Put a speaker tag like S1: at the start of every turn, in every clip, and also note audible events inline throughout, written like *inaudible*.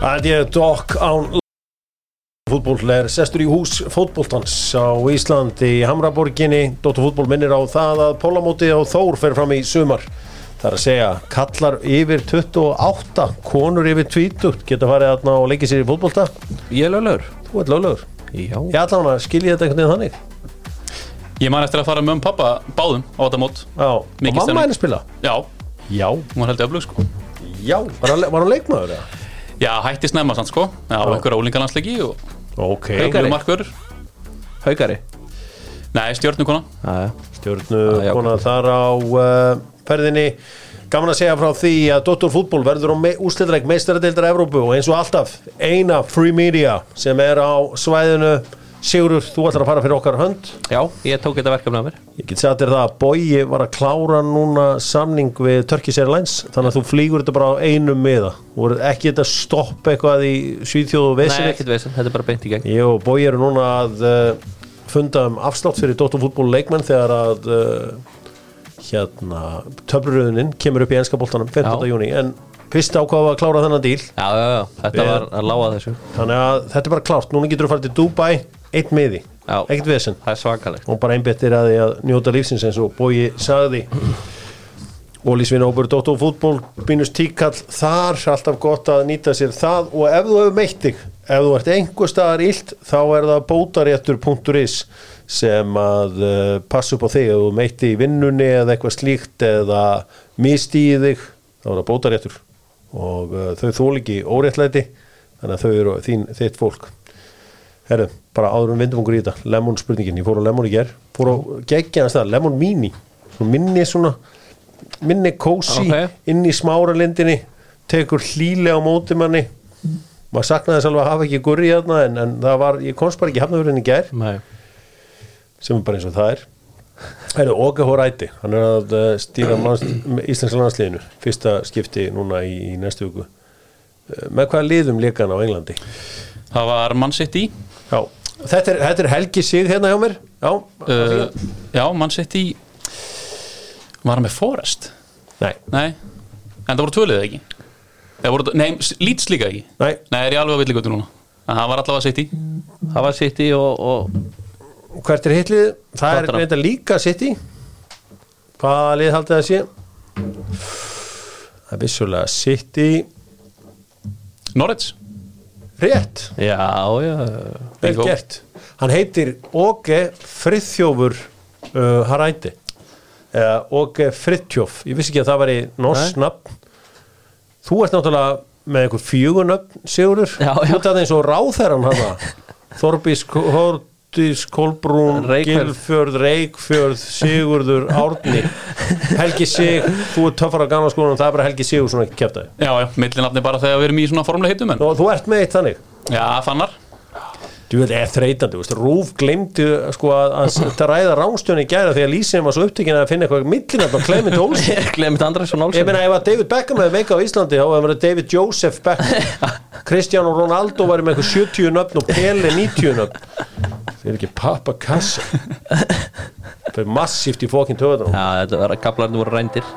S1: held ég Dokk án fútból er sestur í hús fótbóltans á Íslandi í Hamraborginni Dóttarfútból minnir á það að pólamótið á Þór fer fram í sumar það er að segja kallar yfir 28 konur yfir 20 geta farið aðna og leikið sér í fótbólta
S2: Ég er löglegur
S1: þú ert löglegur
S2: Já
S1: ég ætla hann að skilja þetta einhvern veginn þannig
S2: Ég man eftir að fara með um pappa báðum á þetta mót
S1: Já, og
S2: Mikið
S1: mamma
S2: stemning.
S1: henni spila
S2: Já,
S1: já,
S2: hún var held öflug sko
S1: já var hann, var hann leikmaður eða?
S2: Já, hætti snemma sann sko Já, og einhverja úlingalandsleiki og
S1: ok,
S2: einhverju markvör
S3: Haukari
S2: Nei, stjórnukona
S3: Aja.
S1: stjórnu
S3: Ah, já.
S1: konar þar á uh, ferðinni gaman að segja frá því að Dóttur fútból verður á me úslitleik meistaradeildar Evrópu og eins og alltaf eina free media sem er á svæðinu Sigurur, þú ætlar að fara fyrir okkar hönd
S3: Já, ég tók þetta verkefni að mér
S1: ég get sagt þér það að Bogi var að klára núna samning við Turkish Airlines þannig að þú flýgur þetta bara á einum miða þú verður ekki þetta stopp eitthvað í Svíþjóð og
S3: Nei,
S1: Vesinni
S3: ekkert veginn, þetta er bara beint í gegn
S1: Ég og Bói eru núna að uh, funda um afslátt fyrir dóttarfútból leikmenn þegar að uh, hérna, töfluröðunin kemur upp í enska boltanum 15.
S3: Já.
S1: júni en fyrst ákvaða að klára þennan díl
S3: Já, já, já, þetta
S1: Við-
S3: var að lága þessu
S1: þannig að þetta er bara klárt, núna getur þú farið til Dubai eitt miði,
S3: Já.
S1: ekkert vesen
S3: Það er svakalegt
S1: og bara einbettir að því að njóta lífsins eins og Bói sagði Ólísvinn Óbur Dóttar fútból mínus tíkall þar alltaf gott að nýta sér það og ef þú hefur meitt þig ef þú ert einhver staðar illt þá er það bótaréttur.is sem að uh, passa upp á þig ef þú meitti í vinnunni eða eitthvað slíkt eða misti í þig þá er það bótaréttur og uh, þau þól ekki óréttlæti þannig að þau eru þín, þitt fólk Herru, bara áður um vindum okkur í þetta Lemon spurningin, ég fór á Lemon í ger fór á geggjana stað, Lemon Mini svona minni svona minni kósi
S3: Ok.
S1: inn í smáralindinni tekur hlýlega á móti manni maður saknaði þess alveg að hafa ekki gurri hérna en, en það var, ég komst bara ekki hafnafjörðin í ger
S3: Nei.
S1: sem er bara eins og það er Herru, Óge Hóræti, hann er að uh, stýra lands, Íslands landsliðinu fyrsta skipti núna í, í næstu viku Uh, með hvaða liðum leika hann á Englandi?
S2: Það var Man City
S1: Já, þetta er, þetta er Helgi Sið hérna hjá mér Já,
S2: uh, Já, Man City Var hann með Forest?
S1: nei,
S2: Nei, en það voru tvölið ekki Það voru, nei, Leeds líka ekki
S1: nei,
S2: Nei, er ég alveg að vilja góttu núna En það var allavega City
S3: Það var sitt í og, og
S1: hvert er hitlið? Það er
S3: Tottenham.
S1: reynda líka City Hvaða lið haldið það sé? Það er vissulega City
S2: Norwich
S1: Rétt,
S3: Já, já *laughs*
S1: vel
S2: Bingo.
S1: gert Hann heitir Óge Friðþjófur uh, Haræti eða Óge Friðtjóf Ég vissi ekki að það væri norsk
S3: Nei.
S1: nafn Þú ert náttúrulega með einhver fjögunöfn, Sigurður
S3: Já, já.
S1: Þú ert aðeins og ráðherran hana
S3: *laughs*
S1: Þorbís Hórdís Kolbrún,
S3: Reykfjörð.
S1: Gilfjörð Reykfjörð, Sigurður Árni, Helgi Sig Þú ert töffar á gamla skólanum, það er bara Helgi Sigur svona keftaði.
S2: Já, já, millinafni bara þegar við erum í svona formlega heitum en
S1: Nú, þú ert með eitt þannig
S2: Já, fannar
S1: Þú veit, er þreytandi, þú veist, Rúf glemdi sko að, að þetta ræða rángstjóni í gæra því að Lísin var svo upptökin að finna eitthvað millinat á Clement Olsen.
S3: Glemit Andræsson
S1: Ég
S3: Olsen
S1: meina, ef að David Beckham hefði meika á Íslandi þá hefði verið David Joseph Beckham Cristiano Ronaldo væri með eitthvað 70 nöfn og Pele 90 nöfn Þeir eru ekki pappa kassa Það er massíft í fókin töðan
S3: Já, þetta var kaplarnir voru rændir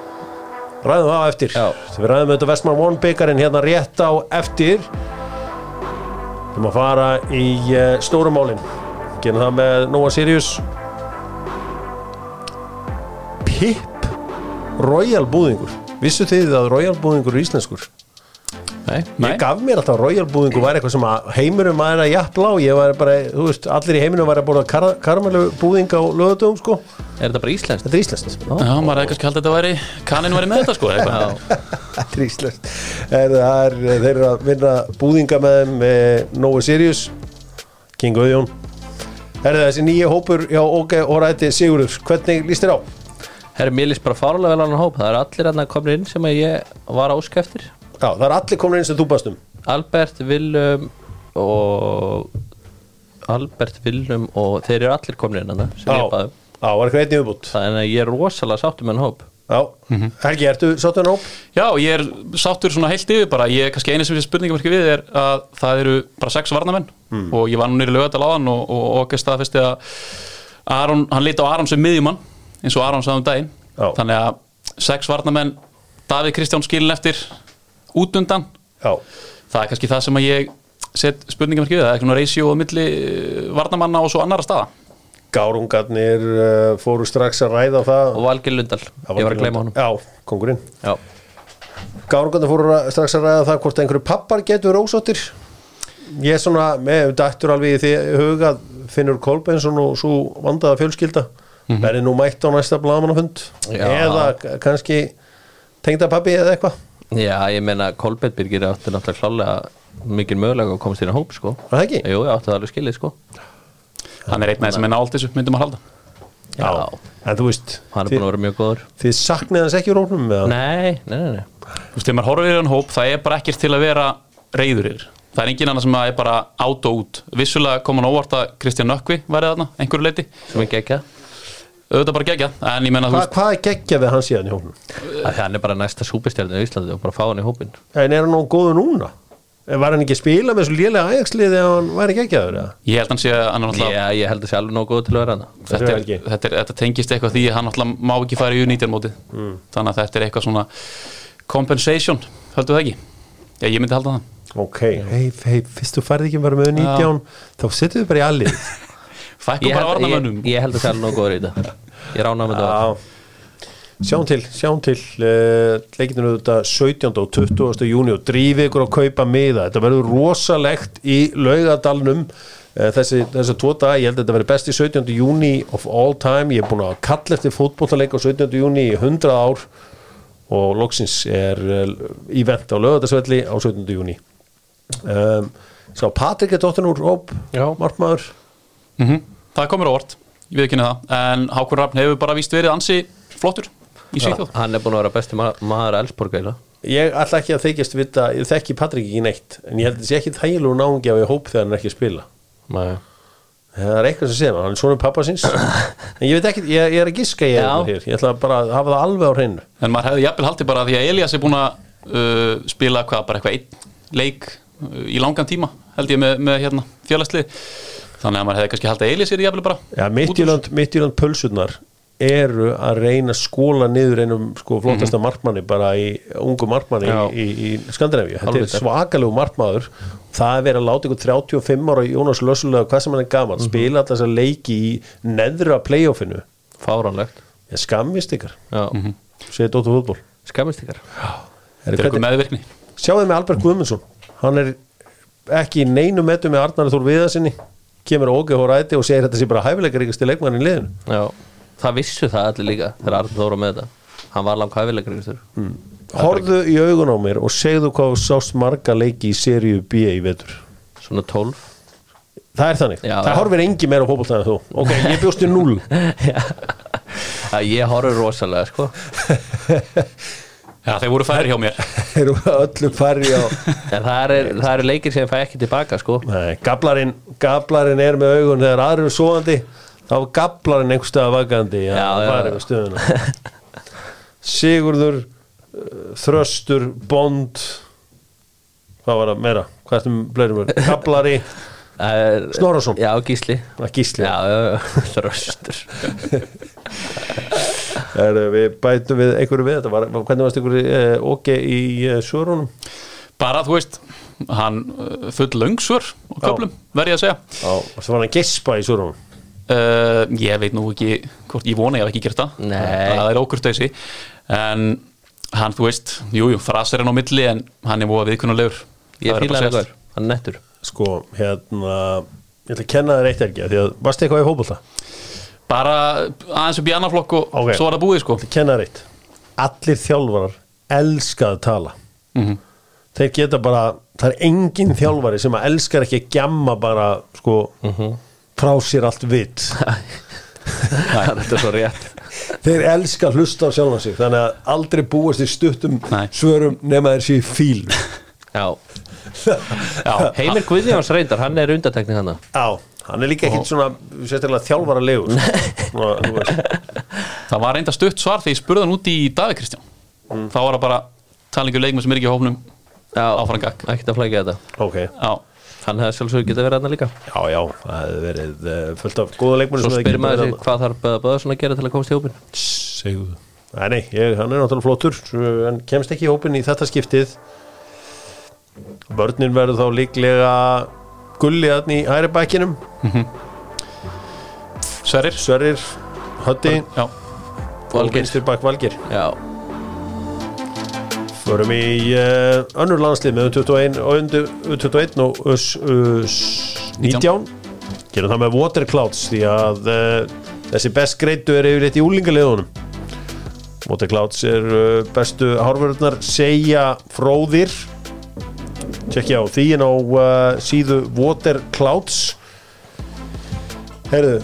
S1: Ræðum það á eftir
S3: Já.
S1: Við ræðum þetta Vestmann One byggarinn hérna rétt á eftir Við erum að fara í uh, stórumálin Gerum það með Nóa Sirius Pip Royal búðingur Vissu þið að Royal búðingur er íslenskur?
S3: Nei
S2: Nei,
S1: Ég gaf mér alltaf að Royal búðingur var eitthvað sem að heimurum var að jafnla og ég var bara, þú veist, allir í heiminum var að bóla kar karmelu búðing á lögatöfum sko
S3: Er þetta bara íslenskt?
S1: Þetta er íslenskt
S2: Já, maður hefði kannski haldið að þetta væri Kanin væri með þetta sko, eða eitthvað
S1: Tríslöst er, það er, eh, Þeir eru að vinna búðinga með þeim með Nói Sirius King Guðjón Er það þessi nýja hópur Já, ok, og rætti Sigurður Hvernig líst þér á?
S3: Herri, mér líst bara fárlega vel á hann hóp Það er allir hann að komin inn sem að ég var áskæftir
S1: Já, það er allir komin eins og þú baðst um
S3: Albert, Willum og Albert, Willum og þeir eru allir komin inn hann sem
S1: Já,
S3: ég um. baðum
S1: já, var eitthvað einn í umbútt
S3: Þannig að ég er rosalega sáttum með hann hóp
S1: Já,
S3: Mhm.
S1: Helgi, ertu sáttu hann hóp?
S2: Já, ég er sáttur svona heilt yfir bara Ég er kannski eini sem þessi spurningamarki við er að það eru bara sex varnamenn og ég var nú nýri lögadal á hann og, og, og okkar staðfesti að Aron, hann liti á Aron sem miðjumann eins og Aron sagði um daginn
S1: Já.
S2: Þannig að sex varnamenn Davíð Kristján skilin eftir út undan
S1: Já,
S2: það er kannski það sem að ég set spurningamarki við, það er eitthvað reysjó á milli eh, varnamanna og svo annara staða
S1: Gárungarnir uh, fóru strax að ræða það
S3: og Valgeir Lundal, ég var að gleyma honum
S1: Já, kongurinn
S3: já.
S1: Gárungarnir fóru ra- strax að ræða það hvort einhverju pappar getur rósóttir Ég er svona, með dættur alveg í því huga Finnur Kolbensson og svo vandaða fjölskylda mm verði nú mætt á næsta blamanafund
S3: Mhm. Já.
S1: eða k- kannski tengda pappi eða eitthvað
S3: já, ég meina Kolbett Birgir átti náttúrulega klálega mikil mögulega að komast inn á hóp sko
S1: Var það ekki?
S3: Jú, ég átti það alveg skilið sko
S2: hann er einn aðeins sem er nált þessu, myndum að halda
S3: Já.
S1: En þú veist,
S3: hann er
S1: þið,
S3: búin að vera mjög góður
S1: þið saknið hans ekki úr rónum með hann
S3: Nei, nei, nei, nei.
S2: Þú veist, þegar maður horfir í hann hóp, það er bara ekkert til að vera reyður yfir. Það er engin annar sem er bara át og út. Vissulega kom hann óvart að Kristján Nökkvi væri þarna, einhverju leiti.
S3: sem er geggjað
S2: Auðvitað bara gegja, en ég menna þú
S1: Hva,
S2: veist,
S1: Hvað geggja við hans í hann í hóknum?
S3: Af því hann er bara næsta súpistjarnir í Íslandi og bara fá hann í hópinn
S1: En er hann nóg góður núna? Eh, Var hann ekki að spila með svo lélega ægjagsliði ef hann væri ekki ekki aður?
S2: ég held hann sé að hann er
S3: ég,
S2: náttúrulega,
S3: ég held að sé alveg nógu góð til að vera hann
S1: Þetta
S2: þetta,
S1: er
S2: er,
S1: helgi.
S2: þetta, er, þetta tengist eitthvað því að hann náttúrulega má ekki fara í unítjar mótið.
S3: Mm.
S2: Þannig að þetta er eitthvað svona compensation, höldu það ekki? Já, ég myndi halda það.
S1: Ok, hei, hei, fyrst þú færði ekki bara með 19 þá setjum við bara í allir
S2: Fækku
S3: ég
S2: bara
S3: held, ég,
S2: orðamönnum.
S3: ég held að sé alveg nógu góður í þetta ég rána með það
S1: Já Sjáum til, sjáum til uh, leikinu auðvitað 17. og 20. júni og drífi ykkur að kaupa miða þetta verður rosalegt í laugadalnum uh, þessi, þessi tvo dag ég held að þetta verður besti 17. júni of all time, ég er búin að kalla eftir fótbollaleik á 17. júni í 100 ár og loksins er uh, ívent á laugadagsvelli á 17. júni um, Sá Patrik er dóttin úr Róp,
S3: Já.
S1: markmaður
S2: Mhm. Það komur óvart, ég veit það. En Hákon Rafn hefur bara víst verið ansi flottur í Svíþjóð.
S3: hann er búin að vera besti ma maður að Elsborg eða
S1: Ég ætla ekki að þykjast vita, ég þekki Patrik ekki neitt en ég held að þessi ekki þægilegu náungi af ég hóp þegar hann er ekki að spila það er eitthvað sem segir maður, hann er svona pappa síns en ég veit ekki, ég, ég er að giska ég,
S3: Já.
S1: hér, ég ætla bara að hafa það alveg á hreinu
S2: En maður hefði jafnvel haldið bara að því að Elias er búin að uh, spila hvað, bara eitthvað einn leik uh, í langan tíma, held ég, með, með hérna, fjölastlið. Þannig að maður hefði kannski haldið að Elias er jafnvel bara.
S1: Já, Midtjúland, Midtjúland pulsurnar eru að reyna að skóla niður einum sko flottasta markmanni bara í ungu markmanni
S2: Já.
S1: í, í, í Skandinavíu, þetta
S3: Alveg
S1: er svakalegu markmaður það er verið að láta ykkur 35 ára Jónas Lössulega, hvað sem hann er gaman spila alltaf þess að leiki í neðra playoffinu,
S3: fáránlegt
S1: ég skammist ykkur
S3: mm -hmm.
S1: segir Dóttur fútból
S3: skammist ykkar
S2: Þetta er eitthvað meðvirkni.
S1: Sjáðu með Albert Guðmundsson hann er ekki í neinu metu með Arnar Þór Viðarsinni kemur ógeð og ræti og segir þetta sé bara hæfileikar ykkur stil leikmann í liðinu
S3: já. það vissu það allir líka þegar Arn Þóra með þetta hann var langt hæfilegur mm.
S1: Horðu í augun á mér og segðu hvað þú sást marga leiki í seríu B í vetur
S3: svona 12
S1: Það er þannig,
S3: Já,
S1: það
S3: já.
S1: horfir engi meira á fótboltaðan þú Ok, ég bjóst í null
S3: *laughs* *laughs* að ég horfði rosalega sko
S2: Já, þeir voru færi hjá mér.
S1: *laughs* Eru öllu færri á
S3: en það eru það eru leikir sem ég fæ ekki tilbaka sko
S1: Nei, gablarinn, gablarinn er með augun þegar aðrir eru svoandi þá er gablarinn einhver stöða vakandi
S3: Já,
S1: að
S3: já,
S1: fara
S3: já.
S1: yfir stöðuna Sigurður uh, Þröstur, Bond hvað var það meira? Hvað ertum blöðum við?
S3: *laughs*
S1: Gablari,
S3: Það er-
S1: Snorason.
S3: Eh, já, Gísli
S1: að gísli
S3: já, já, já, *laughs* þröstur
S1: er, eh, Við bætum við einhverju við þetta var, hvernig varst einhverju uh, ok í uh, Sjórunum?
S2: Bara, þú veist, hann uh, full löngsvör og köplum, verð ég að segja.
S1: Já, varstu var hann að gespa í Sjórunum?
S2: Uh, ég veit nú ekki, hvort, ég vona ég hef ekki gert það.
S3: Nei.
S2: Það er okkur dæsi. En hann, þú veist, jújú, jú, frasar hann á milli en hann er múið að viðkunnulegur.
S3: ég fíla hann ykkur, hann er nettur
S1: Sko, hérna ég ætla að kenna þér eitt ekki því að varstu eitthvað í fótbolta?
S2: Bara aðeins upp í annan flokk og
S1: Ok.
S2: svo var það búið, sko.
S1: kenna þér eitt allir þjálfarar elska að tala
S3: Mhm.
S1: þeir geta bara það er engin þjálfari sem að elskar ekki að gjamma bara sko
S3: Mhm.
S1: frá sér allt
S3: *laughs*
S1: vitt
S3: þetta er svo rétt
S1: þeir elska að hlusta á sjálfan sig þannig að aldrei búast í stuttum
S2: Nei.
S1: svörum nema þeir séu fíl
S3: já,
S2: Já,
S3: Heimir Guðjóns reyndar, hann er undartekning hann
S1: á, hann er líka ekkit svona sérstaklega þjálfara legur
S2: Það var reynda stutt svar þegar ég spurði hann út í Davík Kristján Þá var það bara talingu leikmenn sem er ekki í hófnum Áfram gakk.
S3: Ekkert að flækja þetta
S1: ok,
S2: Já,
S3: Hann hefði sjálfsögur getað verið hann líka
S1: já já það hefur verið uh, fullt af góða leikmenn
S3: Svo spyrir maður sig hvað þarf Böða Böðarsson að gera til að komast í hópin
S1: segðu Nei, nei, ég, hann er náttúrulega flottur svo- en kemst ekki í hópin í þetta skiptið Vörnin verður þá líklega gulliðan í hæri bækinum
S2: Sverrir
S1: Sverrir, Hötti
S2: Já,
S1: og
S3: Valgeir.
S1: vinstir bak Valgir
S3: Já,
S1: Förum í uh, önnur landslið með 21 og undir 21 og us, us, 19 Gerum það með Waterclouds því að uh, þessi best greitu er yfirleitt í úlingaliðunum Waterclouds er uh, bestu hárverðnar segja fróðir Tjekkja á því en á uh, síðu Waterclouds Heyrðu,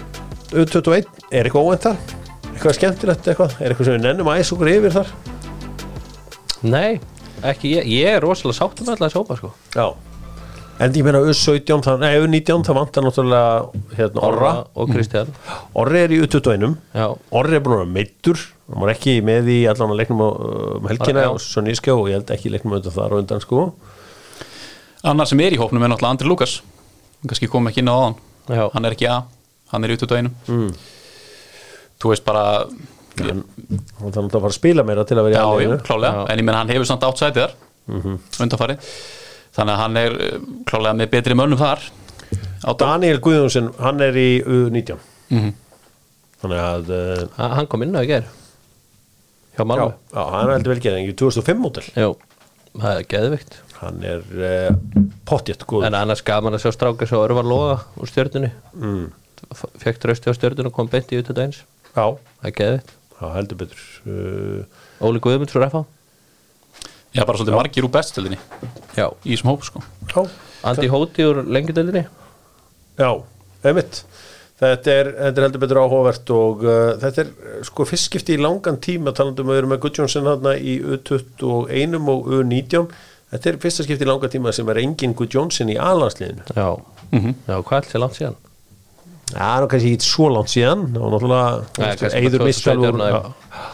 S1: U21 er eitthvað óvænt þar? Eitthvað skemmtilegt eitthvað? Er eitthvað sem við nennum aðeins okkur yfir þar?
S3: nei, ekki ég Ég er rosalega sátt með alla þessi hópa sko
S1: Já En ég meina U17, það, nei U19 það vantar náttúrulega hérna, Orra
S3: og Kristján
S1: Orri er í U21
S3: Já,
S1: Orri er búin að vera meittur hann var ekki með í allan að leiknum á, um helgina
S3: Já.
S1: og Sönnískjá og ég held ekki leiknum auðvitað þar og undan sko
S2: annar sem er í hópnum er náttúrulega Andri Lukas Hann kannski kom ekki inn á aðan
S3: já,
S2: Hann er ekki að, hann er í 21 mm. Þú veist bara
S1: en hann þarf náttúrulega að fara að spila meira til að vera í
S2: Já, já,
S1: aðeinu
S2: klálega, en ég menn hann hefur samt átt sætið þar Mhm. undanfari þannig að hann er eh, klálega með betri mönnum þar á dag
S1: Daniel Guðjónsson, hann er í U19 Þannig að uh,
S3: Ha- hann kom inn á í ger Hjá
S1: já,
S3: Malmö
S1: já, hann er heldur velgerðing í 2005 mótel
S3: Já, það er geðvikt
S1: hann er uh, pottjett góð
S3: En annars gaman að sjá stráka svo örvar loga úr stjörnunni mm. Fekk trösti á stjörnunni og kom beint í út að dæns
S1: Já,
S3: Það er geðvikt
S1: já, heldur betur uh,
S3: Óli Guðmunds úr FH
S2: Já, bara svolítið margir úr bestöldinni
S3: Já
S2: í þessum hóp sko
S1: Já,
S3: Andi Hóti úr lengjudeldinni
S1: Já, einmitt Þetta er, þetta er heldur betur áhugavert og uh, þetta er uh, sko fyrstskipti í langan tíma talandum að við erum með Gudjónsson hérna í U21 og U19 Þetta er fyrsta skipti í langan tíma sem er engin Gudjónsson í aðlandsliðinu
S3: Já, Mhm. já hvað er þessi langt síðan?
S1: Já, það er kannski ekki svo langt síðan og
S3: Nei,
S1: náttúrulega
S3: kannski bara
S1: eður mistal
S3: 2017
S1: úr
S3: eða
S1: já.
S3: eitthvað.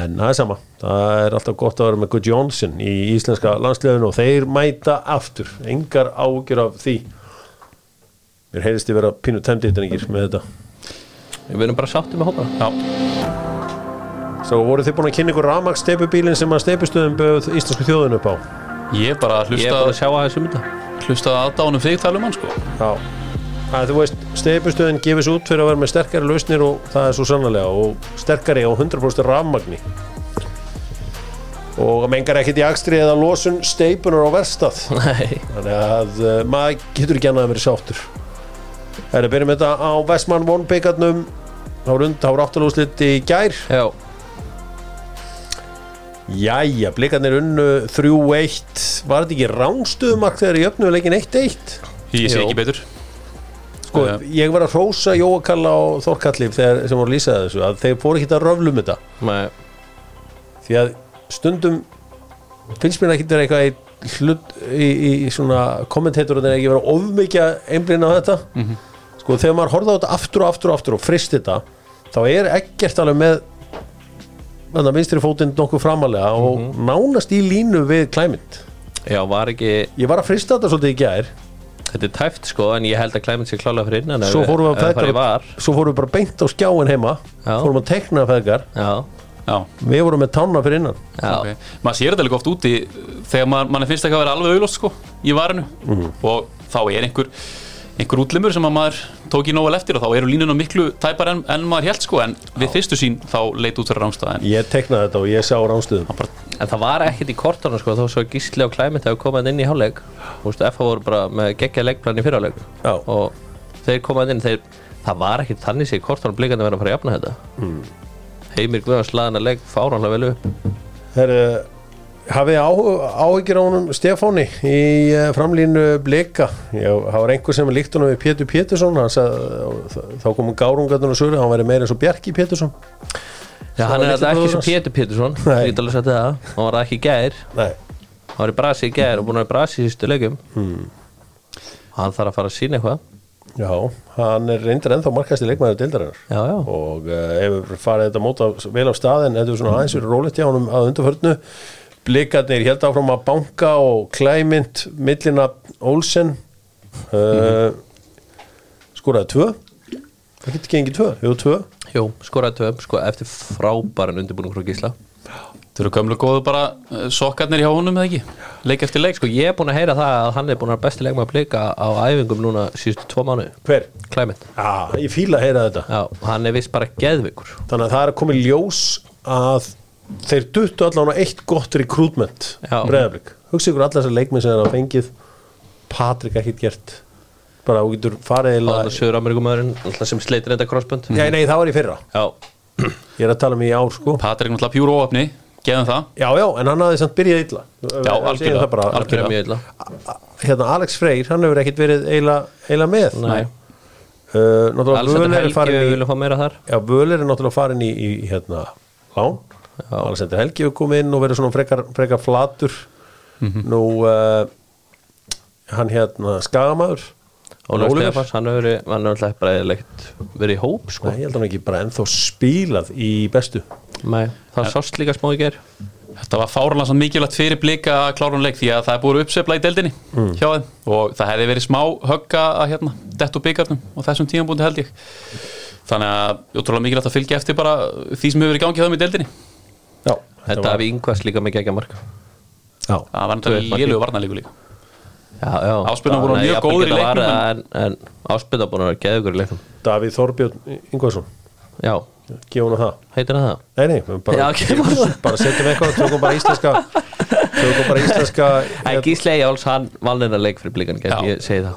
S1: En það er sama, það er alltaf gott að vera með Gudjónsson í íslenska landsliðinu og þeir mæta aftur, engar ágjur af því Mér heyrist ég vera pínu temdið með þetta
S3: Við erum bara sáttið með hópa
S2: Já,
S1: Svo voru þið búin að kynna ykkur rafmaks steipubílinn sem að steipistöðum bauð íslensku þjóðinu upp á
S2: ég er bara
S3: Ég er bara að
S2: hlustað
S3: sjá um að þessu mynda
S2: hlusta aðdánum þig talum hann sko
S1: Já að Þú veist, steipistöðin gefis út fyrir að vera með sterkari lausnir og það er svo sannlega og sterkari og 100% rafmagni og mengar ekkit í akstri eða losun steipunar á verstað
S3: Nei
S1: þannig að uh, maður getur ekki annað að vera sáttur Það er að byrja með þetta á Vestmann vonbyggarnum þá er und, þá er áttalúslit í gær
S3: Já,
S1: Jæja, blikarnir unnu 3-1 Var þetta ekki rángstöðumark þegar ég öfnuðu leikin 1-1?
S2: Ég sé
S3: Jó.
S2: ekki betur
S1: Sko,
S2: Já.
S1: ég var að hrósa Jóakalla og Þorkallif þegar, sem voru að lýsa þessu að þeir fóru ekki að röflum þetta
S3: nei
S1: því að stundum finnst mér ekki þetta eitthvað í, hlut, í, í svona kommentatorinn er ekki verið að ofmikja einblinn á þetta sko þegar maður horfði á þetta aftur og aftur og aftur og frist þetta þá er ekkert alveg með þannig að vinstri fótinn nokkuð framalega og nánast í línu við klæmynd
S3: Já, var ekki
S1: ég var að frista þetta svolítið í gær
S3: Þetta er tæft sko, en ég held að klæmint sér klálega fyrir innan
S1: svo fórum við, að
S3: fæta
S1: feðgar,
S3: eh, var,
S1: svo fórum við bara beint á skjáin heima
S3: Já.
S1: fórum að tekna feðgar
S3: já,
S2: Já,
S1: við vorum með tána fyrir innan
S3: já,
S2: ok Maður sér þetta líka oft úti þegar maður, mann finnst ekki að vera alveg auðlóst sko í varinu og þá er einhver einhver útlimur sem að maður tók í nóvel eftir og þá eru línuna miklu tæpar en, en maður held sko en við fyrstu sín þá leit út fyrir rámstæðan
S1: ég teknaði þetta og ég sá ránstöðum
S3: en það var ekkert í kortana sko, þó svo gísli og klæmint hefur komað inn í hálfleik þú veist, FH voru bara með geggja leikplan í fyrraleik
S1: Já.
S3: og þeir komað inn, þeir, það var ekkert þannig sér í kortana blikandi verið að fara að jafna þetta
S1: Hmm.
S3: Heimir Guðjóns laðan að leik fáránlega vel upp
S1: Herru, hafið þið áhu- áhyggjur á honum Stefáni í eh, framlínu blika Já, það var einhver sem líkt honum við Pétur Pétursson hann sagði, þá komum gárungarnir og sögur hann væri meira eins og Bjarki Pétursson
S3: já,
S1: var
S3: hann er
S1: litli
S3: alltaf
S1: bróðir
S3: ekki svo
S1: hans.
S3: Pétur Pétursson
S1: Nei.
S3: ég get alveg sagt það, hann var það ekki í gær
S1: Nei,
S3: hann var í brasi í gær og búin að vera í brasi í sístu leikum
S1: Hmm.
S3: hann þarf að fara að sína eitthvað
S1: já, hann er reyndar ennþá markast í leikmaður deildarinnar
S3: já, já,
S1: og uh, hefur farið þetta mót af, vel af stað en þetta er svona aðeins verið rólegt hjá honum að undarförnu blikarnir held áfram að banka og klæmynd millina Olsen uh, skoraði tvö Það getur gengið tvö, jú tvö
S3: Jú, skoraði töfum, sko, eftir frábæran undirbúning frá Gísla
S2: Þau eru gömlu góðu bara eh, sokkarnir hjá honum eða ekki Leik eftir leik
S3: Sko, ég er búin að heyra það að hann er búin að vera besti leikmaður blika á æfingum núna síðustu tvo mánu
S1: Hver?
S3: Klæmint
S1: Já, ég fíla að heyra þetta
S3: Já, hann er vist bara geðvikur
S1: Þannig að það er komið ljós að þeir duttu allan á eitt gott rekrútment
S3: Já.
S1: breyðablík Hugsa ykkur allar þessar leikmið sem þeir hafa fengið Patrik ekkert gert Bara þú getur farið
S3: Þannig að
S1: eila
S3: Söður Amerikumæðurinn, alltaf sem sleitir enda crossbund
S1: Já, nei, það var í fyrra
S3: Já,
S1: Mhm. Ég er að tala um í ár, sko
S2: Patrik náttúrulega pjúr óöfni, geðum það
S1: Já, já, en hann hafði samt byrjað illa
S2: Já,
S1: Ég segi
S2: algjörlega,
S1: það bara,
S2: algjörlega.
S3: algjörða mjög illa
S1: Hérna, Alex Freyr, hann hefur ekkert verið eila, eila með
S3: Nei,
S1: Uh, náttúrulega Völer
S3: Alexander
S1: er
S3: Helgi,
S1: farin
S3: við
S1: í
S3: viljum fá meira þar
S1: Já, Völer er náttúrulega farin í, í hérna, lán Alexander Helgi hefur komið inn og verið svona frekar, frekar flatur Nú uh, hann hérna skagamæður
S3: Ólaf Stefans, hann hefur verið- hann er alltaf bara leikt verið í hóp, sko
S1: Nei, ég held hann ekki bara ennþá spílað í bestu
S3: Nei, það sást líka smá í ger
S2: Þetta var fárlansan mikilvægt fyrir blika að klára hún leik því að það er búið uppsefla í deildinni
S3: Mm.
S2: hjá þeim og það hefði verið smá högga að hérna, dett úr byggarnum og þessum tímanbúndi held ég Þannig að útrúlega mikilvægt að fylgja eftir bara því sem hefur verið í gangi hjá þeim í deildinni
S1: Já,
S3: Þetta hafi yngvast líka með gegja marka
S1: Já,
S2: Það var náttúrulega
S3: markið.
S2: lélugu varnarleiku líka
S3: Já, já
S2: Áspyrnan voru
S3: Þannig að
S2: mjög
S3: jafnvel
S2: góðir í
S3: geta
S2: leiknum,
S3: varið En, en áspyrna búin að vera geðvikur í leiknum
S1: Davíð Þorbjörn Ingvarsson
S3: Já,
S1: gefa hún það
S3: heitir hann það?
S1: Nei, nei, bara,
S3: Já, ok, bara-
S1: bara setjum eitthvað, tökum bara íslenska tökum bara íslenska
S3: En Gísli Eyjáls, hann vann hennar leik fyrir blíkan
S2: Já.
S3: Ég segi það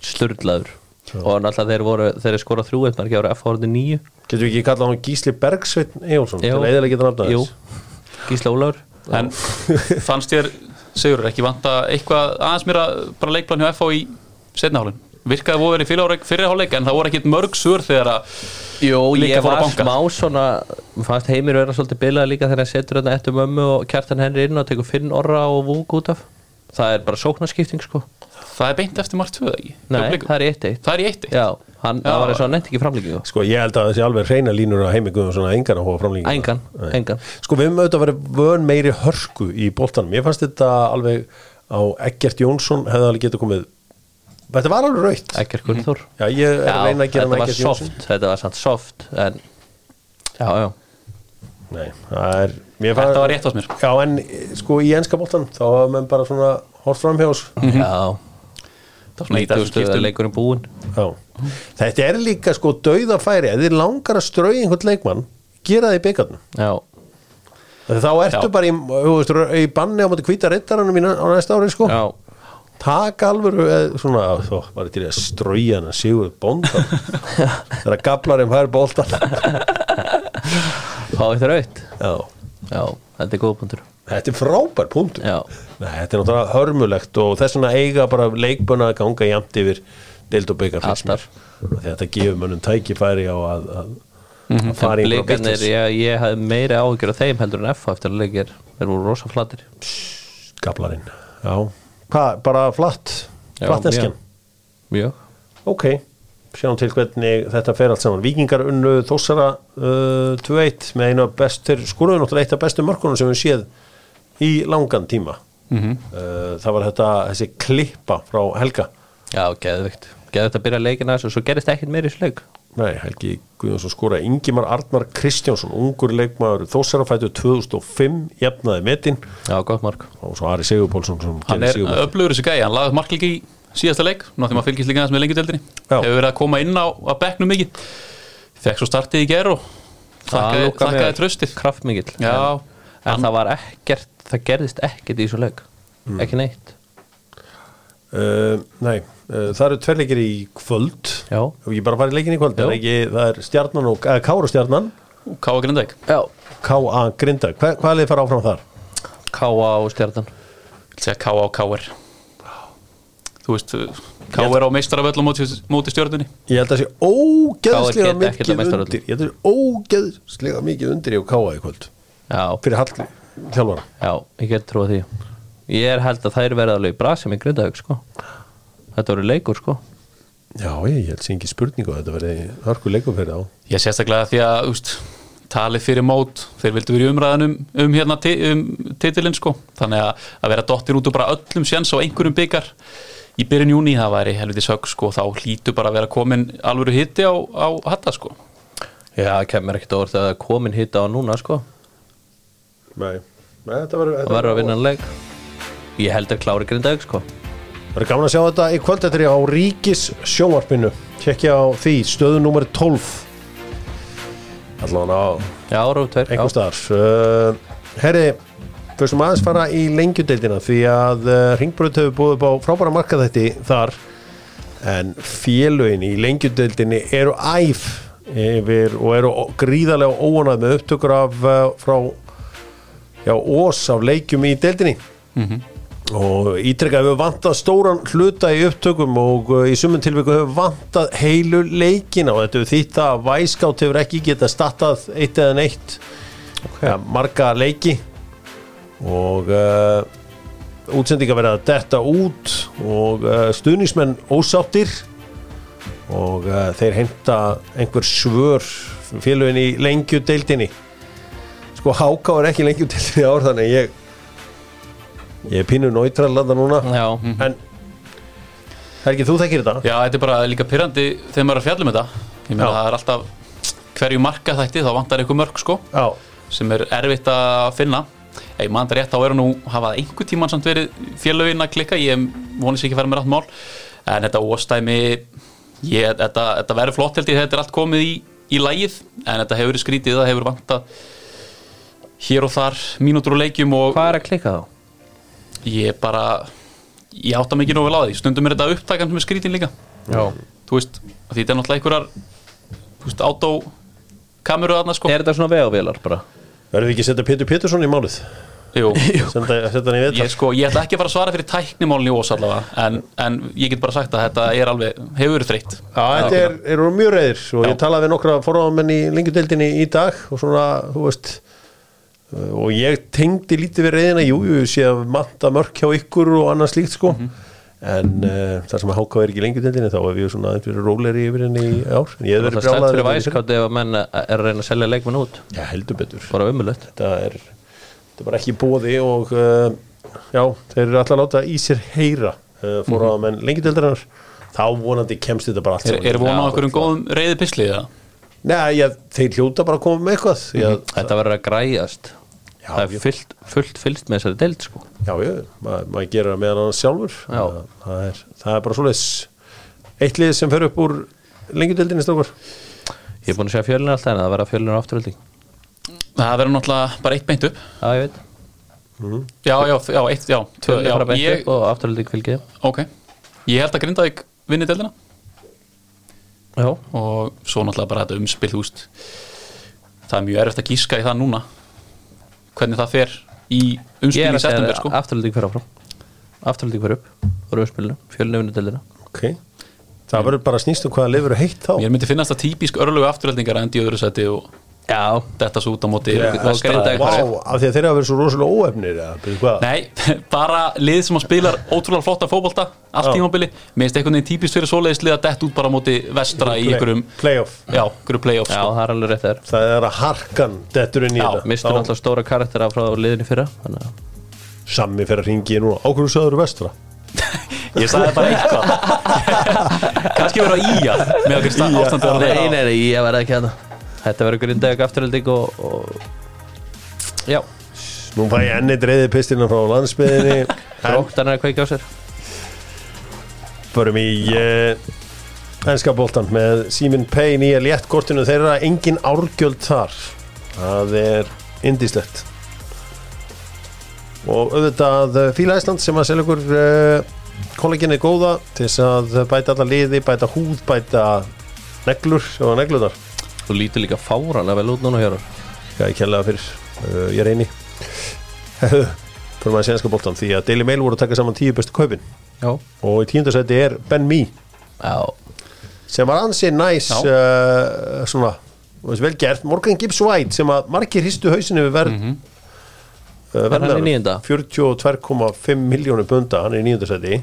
S3: Sturlaður Og náttúrulega þeir, voru, þeir skora þrjú eitt marki ára F horfði nýju
S1: Getur við ekki kallað hann Gísli Bergsveitn Eyjólfsson til að eðalega geta nafnað
S3: Jú, Gísli Ólafur
S2: En fannst þér, Sigurður, ekki vanta eitthvað aðeins mér að bara leikplan hjá FH í setnahálun? Virkaði voru verið fyrirháleik, fyrirháleik en það voru ekkit mörg sur þegar að
S3: Jó,
S2: Líka
S3: ég
S2: fór að
S3: var
S2: banka.
S3: smá svona mér Fannst heimir vera svolítið bilað líka Þegar hann setur þetta eftir mömmu og kjartan henni inn Og tekur Finn Orra og Vúk út af Það er bara sóknarskipting sko
S2: það er beint eftir margt tvöð ekki?
S3: Nei,
S2: Hjá Blikum.
S3: það er eitt eitt
S2: það er í eitt eitt.
S3: Já, hann,
S2: Já.
S3: það var eins og hann nefnt ekki framlíkingu
S1: Sko ég held að þessi alveg reyna línur að heimi guðum svona engan að hóa framlíkinga
S3: Engan,
S1: Nei.
S3: engan.
S1: Sko við höfum auðvitað að vera vön meiri hörku í boltanum Ég fannst þetta alveg á Eggert Jónsson hefði alveg getað komið Þetta var alveg raukt
S3: Ekkert Gunnþór
S1: Já ég er
S3: Já,
S1: að reyna að gera
S3: þetta
S1: hann
S3: var
S1: Eggert Jónsson
S3: soft, þetta var samt soft En, já, já
S1: Nei, það er mér
S2: Þetta var rétt á mér.
S1: Já en eh, sko í enska boltanum þá hafa menn bara svona hort framhjós
S3: Já,
S2: Það var svona í
S3: nýtastu
S2: þessu
S3: að
S2: skiptum.
S3: leikurinn búinn
S1: Já Þetta er líka sko dauðafæri Ef þið langar að strauði einhvern leikmann gera það í byggarnum
S3: Já,
S1: Þá ertu
S2: Já.
S1: bara í, þú veist, í banni á móti hvita reyttaranum mín á næsta ári sko.
S3: já,
S1: taka alvöru eð, svona, þó, bara til í að strauja hann að sigur
S3: *laughs*
S1: bóndan þegar gablarinn fær bóltan
S3: fá eitt raut
S1: já,
S3: Já, þetta er góð punktur
S1: þetta er frábær punktur
S3: Já.
S1: Nei, þetta er náttúrulega hörmulegt og þess vegna eiga bara leikböna að ganga jæmt yfir deild og byggar
S3: Alltaf.
S1: þetta gefur mönnum tækifæri á að, að, að fara í einhverja
S3: Mhm. Blikarnir,
S1: business.
S3: ég, ég hafði meiri áhyggjur af þeim heldur en F eftir að leikir Þeir voru rosa flatir
S1: gablarinn já, Hva, bara flatt
S3: Já,
S1: flatt
S3: mjög. Mjög
S1: Ok, sjáum til hvernig þetta fer allt saman. Víkingar unnu Þósara uh, 2-1 með einu af bestur, skoruðu náttúrulega eitt af bestu mörkunum sem við séð í langan tíma. uh, það var þetta, þessi klippa frá Helga.
S3: Já, geðvikt Geðvikt að byrja leikina þessu og svo gerist ekkert meiri í þessu leik
S1: Nei, Helgi Guðjónsson skoraði Ingimar Arnar Kristjánsson, ungur leikmaður Þósara fættu 2005, jafnaði metin
S3: Já, gott mark
S1: og svo Ari Sigurpólsson sem
S2: Hann
S1: gerði
S2: er
S1: sigurmarkið.
S2: öflugur þessu gæi, hann lagði marklík í síðasta leik Náttúrulega maður fylgist líka aðeins með lengjudeldinni
S1: Já.
S2: Hefur verið að koma inn á að bekknu mikið Fekk svo startið í ger og
S3: Það
S2: þakkaði,
S3: lokar mér.
S2: þakkaði tröstið
S3: Kraftmikill
S2: Já,
S3: En það var ekkert, það gerðist ekkert í þessu leik Ekki neitt
S1: Uh, nei, uh, það eru tveir leikir í kvöld
S3: Já.
S1: og ég bara farið leikin í kvöld
S3: Já.
S1: er ekki, það er stjarnan og eh, Kára stjarnan
S2: Káa Grindæk
S3: Já
S1: K.A. Grinda, Hva, hvað er þið fara áfram þar?
S3: Káa og stjarnan
S2: Ég segja K.A. og K.R. Þú veist, K.R. á meistaraföllum móti, móti stjörnunni
S1: Ég held að sé ógeðslega
S3: KR geta ekkert að
S1: mikið
S3: meistaröld.
S1: undir Ég held að sé ógeðslega mikið undir í K.A. í kvöld
S3: Já,
S1: fyrir Hallgrí, þjálfara
S3: já, ég get trúið því Ég er held að þær verða alveg í brasi með Grindavík sko Þetta voru leikur sko
S1: Já, ég, ég held sé ekki spurningu að þetta verði hörku leikum fyrir á
S2: Ég sérstaklega því að, þú veist, talið fyrir mót Þeir vildu verið umræðan um, um hérna ti- um titilinn, sko Þannig að, að vera dottir út og bara öllum séns á einhverjum byggar í byrjun júni það væri helviti sög sko, þá hlýtu bara að vera komin alvöru hitti á, á hatta sko.
S3: Já, það kemur ekkert over þegar það er komin hitta á núna sko
S1: Nei, Nei þetta verður
S3: Það verður að vinna hann leik Ég held að klári grindaug sko
S1: Það er gaman að sjá þetta í kvöld þetta er á Ríkis sjónvarpinu Kekja á því, stöðu númer 12 Allan á
S3: Já, Róf 2
S1: einhver staðar uh, Herri, fyrstum aðeins fara í lengjudeildina því að uh, Ringbröð hefur búið upp á frábæra markaðætti þar en félögin í lengjudeildinni eru æf yfir og eru gríðarlega óanæð með upptökur af uh, frá já, ós af leikjum í deildinni og ítrekka hefur vantað stóran hluta í upptökum og uh, í sumum tilvíku hefur vantað heilu leikina og þetta hefur þýtt það að væskátt hefur ekki getað startað eitt eða neitt okay. ja, marga leiki og uh, útsendinga verið að detta út og uh, stuðnismenn ósáttir og uh, þeir heimta einhver svör félögin í lengju deildinni sko háká er ekki lengju deildinni ár þannig að ég ég er pínu náttúrulega núna
S3: Já,
S1: En Helgi, þú þekkir þetta
S2: Já, þetta er bara líka pyrrandi þegar maður er að fjalla um þetta Ég meina
S1: Já.
S2: það er alltaf hverju marka þætti þá vantar eitthvað mörg sko
S1: Já,
S2: sem er erfitt að finna Ef maður andar rétt þá eru nú hafað einhver tíman samt verið félögin að klikka ég vonið sér ekki að fara með rætt mál en þetta óstæmi ég, þetta, þetta verður flott held ég þetta er allt komið í, í lægið en þetta hefur verið skrítið það hefur vantað hér og þar mínútur og leikjum og
S3: hvað er að klikka þá?
S2: ég bara ég átta mikið nógu vel á því stundum er þetta upptakan sem er skrítin líka
S3: Já
S2: þú veist, af því þetta er náttúrulega einhverjar þú veist, autokameru þarna sko
S3: Er þetta svona vegavélar bara?
S1: verðum við ekki að setja Pétur Pétursson í málið
S2: Jú,
S1: Senda, Setja hann í
S2: ég
S1: viðtal
S2: sko, ég ætla ekki að fara að svara fyrir tæknimálni ós allavega en, en ég get bara sagt að þetta er alveg hefur verið þreytt
S1: Já, þetta er, eru mjög reyðir og ég talaði við nokkra forráðamenn í lengjudeldinni í dag og svona, þú veist uh, og ég tengdi lítið við reyðina jú, jú, ég sé að matta mörk hjá ykkur og annað slíkt sko en uh, þar sem að háká er ekki í lengjudeldinni þá hef ég svona aðeins verið róleri yfir henni í ár en ég hef verið
S3: Það er slæmt
S1: brjálaður
S3: fyrir
S1: yfir henni.
S3: væskátt ef að menn er að reyna að selja leikmenn út
S1: Já, heldur betur
S3: Bara umulögt
S1: þetta er, þetta er bara ekki bóði og uh, já, þeir eru alltaf að láta í sér heyra uh, fóra menn lengjadildarinnar þá vonandi kemst þetta bara allt
S2: er, er vona á einhverjum góðum reyði pislið það?
S1: Nei, ég, þeir hljóta bara að koma með eitthvað ég,
S3: Mhm. Þetta verður að græjast
S1: Já,
S3: Það er
S1: ég-
S3: fullt, fullt fylst með þessari deild sko
S2: Mhm.
S1: Já, já, maður mað gerir það meðan hann sjálfur
S3: Já.
S1: það, það, er, það er bara svoleiðis Eitt lið sem fer upp úr lengjadildinni stókar
S3: Ég er búin að segja fjölinu alltaf en það verður að fjölinu afturölding
S2: Það verður náttúrulega bara eitt beint upp
S3: Já, ég veit
S2: Já, já, já, eitt, já, tvö,
S3: Fjölinu
S2: já
S3: fara beint
S2: ég,
S3: upp og afturölding fylgið þeim.
S2: Ok, ég held að Grindavík vinni delina
S3: Já
S2: og svo náttúrulega bara þetta umspil þú veist það er mjög erfitt að gíska í það núna hvernig það fer í
S3: Ég
S2: umspil
S3: er
S2: í
S3: að segja
S2: september sko.
S3: afturölding fyrir áfram Afturölding fyrir upp Það eru spilinu Fjölinu vinnu deildina
S1: Ok Það verður bara snýst um hvaða lið verður heitt þá
S2: Mér myndi finnast það típisk örlögu afturheldingar að enda í öðru seti og
S3: Já
S2: detta svo út á móti
S1: Já,
S2: vestra-
S3: Grindavík
S1: Vá, af því að þeir hafa verið svo rosalega óefnir eða, byrju, hvað?
S2: Nei, *laughs* bara lið sem að spilar ótrúlega flotta fótbolta, allt
S1: Já.
S2: tímabili Mér finnst einhvern veginn típist fyrir svoleiðis lið að detta út bara á móti vestra í
S1: Play-
S2: einhverjum
S1: Playoff
S2: Já, einhverjum playoff
S3: Já,
S2: sko.
S3: það er alveg rétt þér
S1: Það er að harkan dettur inn í
S2: Já,
S1: þetta
S3: Mistur
S1: Þá-
S3: náttúrulega stóra karaktera frá liðinu í fyrra Þannig að
S1: Sammi fer að ringi núna Ákvörðu söður vestra
S2: Ég sagði bara eitthvað Kannski vera í að með okkur stað
S1: Í.A.
S2: ástandu að
S3: Nei,
S2: reyna
S3: nei, nei, ég verði ekki hérna Þetta verður grindæk afturölding og, og Já,
S1: Nú fæ ég enni dreiði pistina frá
S2: *laughs*
S1: landsbyðinni En
S3: gróttan er að kveika á sér
S1: förum í uh, Ennska boltan með Simon Pay nýja léttkortinu þeirra Engin árgjöld þar Það er indislegt Og auðvitað eh, Fíla Ísland sem að selja ykkur uh, kolleginni góða til þess að bæta alla liði, bæta húð, bæta neglur og neglunar
S3: Þú lítur líka fáranlega vel út núna Hjörður
S1: Já, ég kella það fyrir, uh, ég reyni *laughs* Fyrir maður sænska boltan Því að Daily Mail voru að taka saman tíu bestu kaupin
S3: Já
S1: Og í tíundasæti er Ben Mee
S3: Já,
S1: Sem var ansi næs
S2: Já.
S1: uh, Svona, þú veist, vel gert Morgan Gibbs White sem að margir hristu hausinni Við verð mm -hmm. uh,
S3: hann í níunda?
S1: 42,5 miljónu bunda Hann er í níundasæti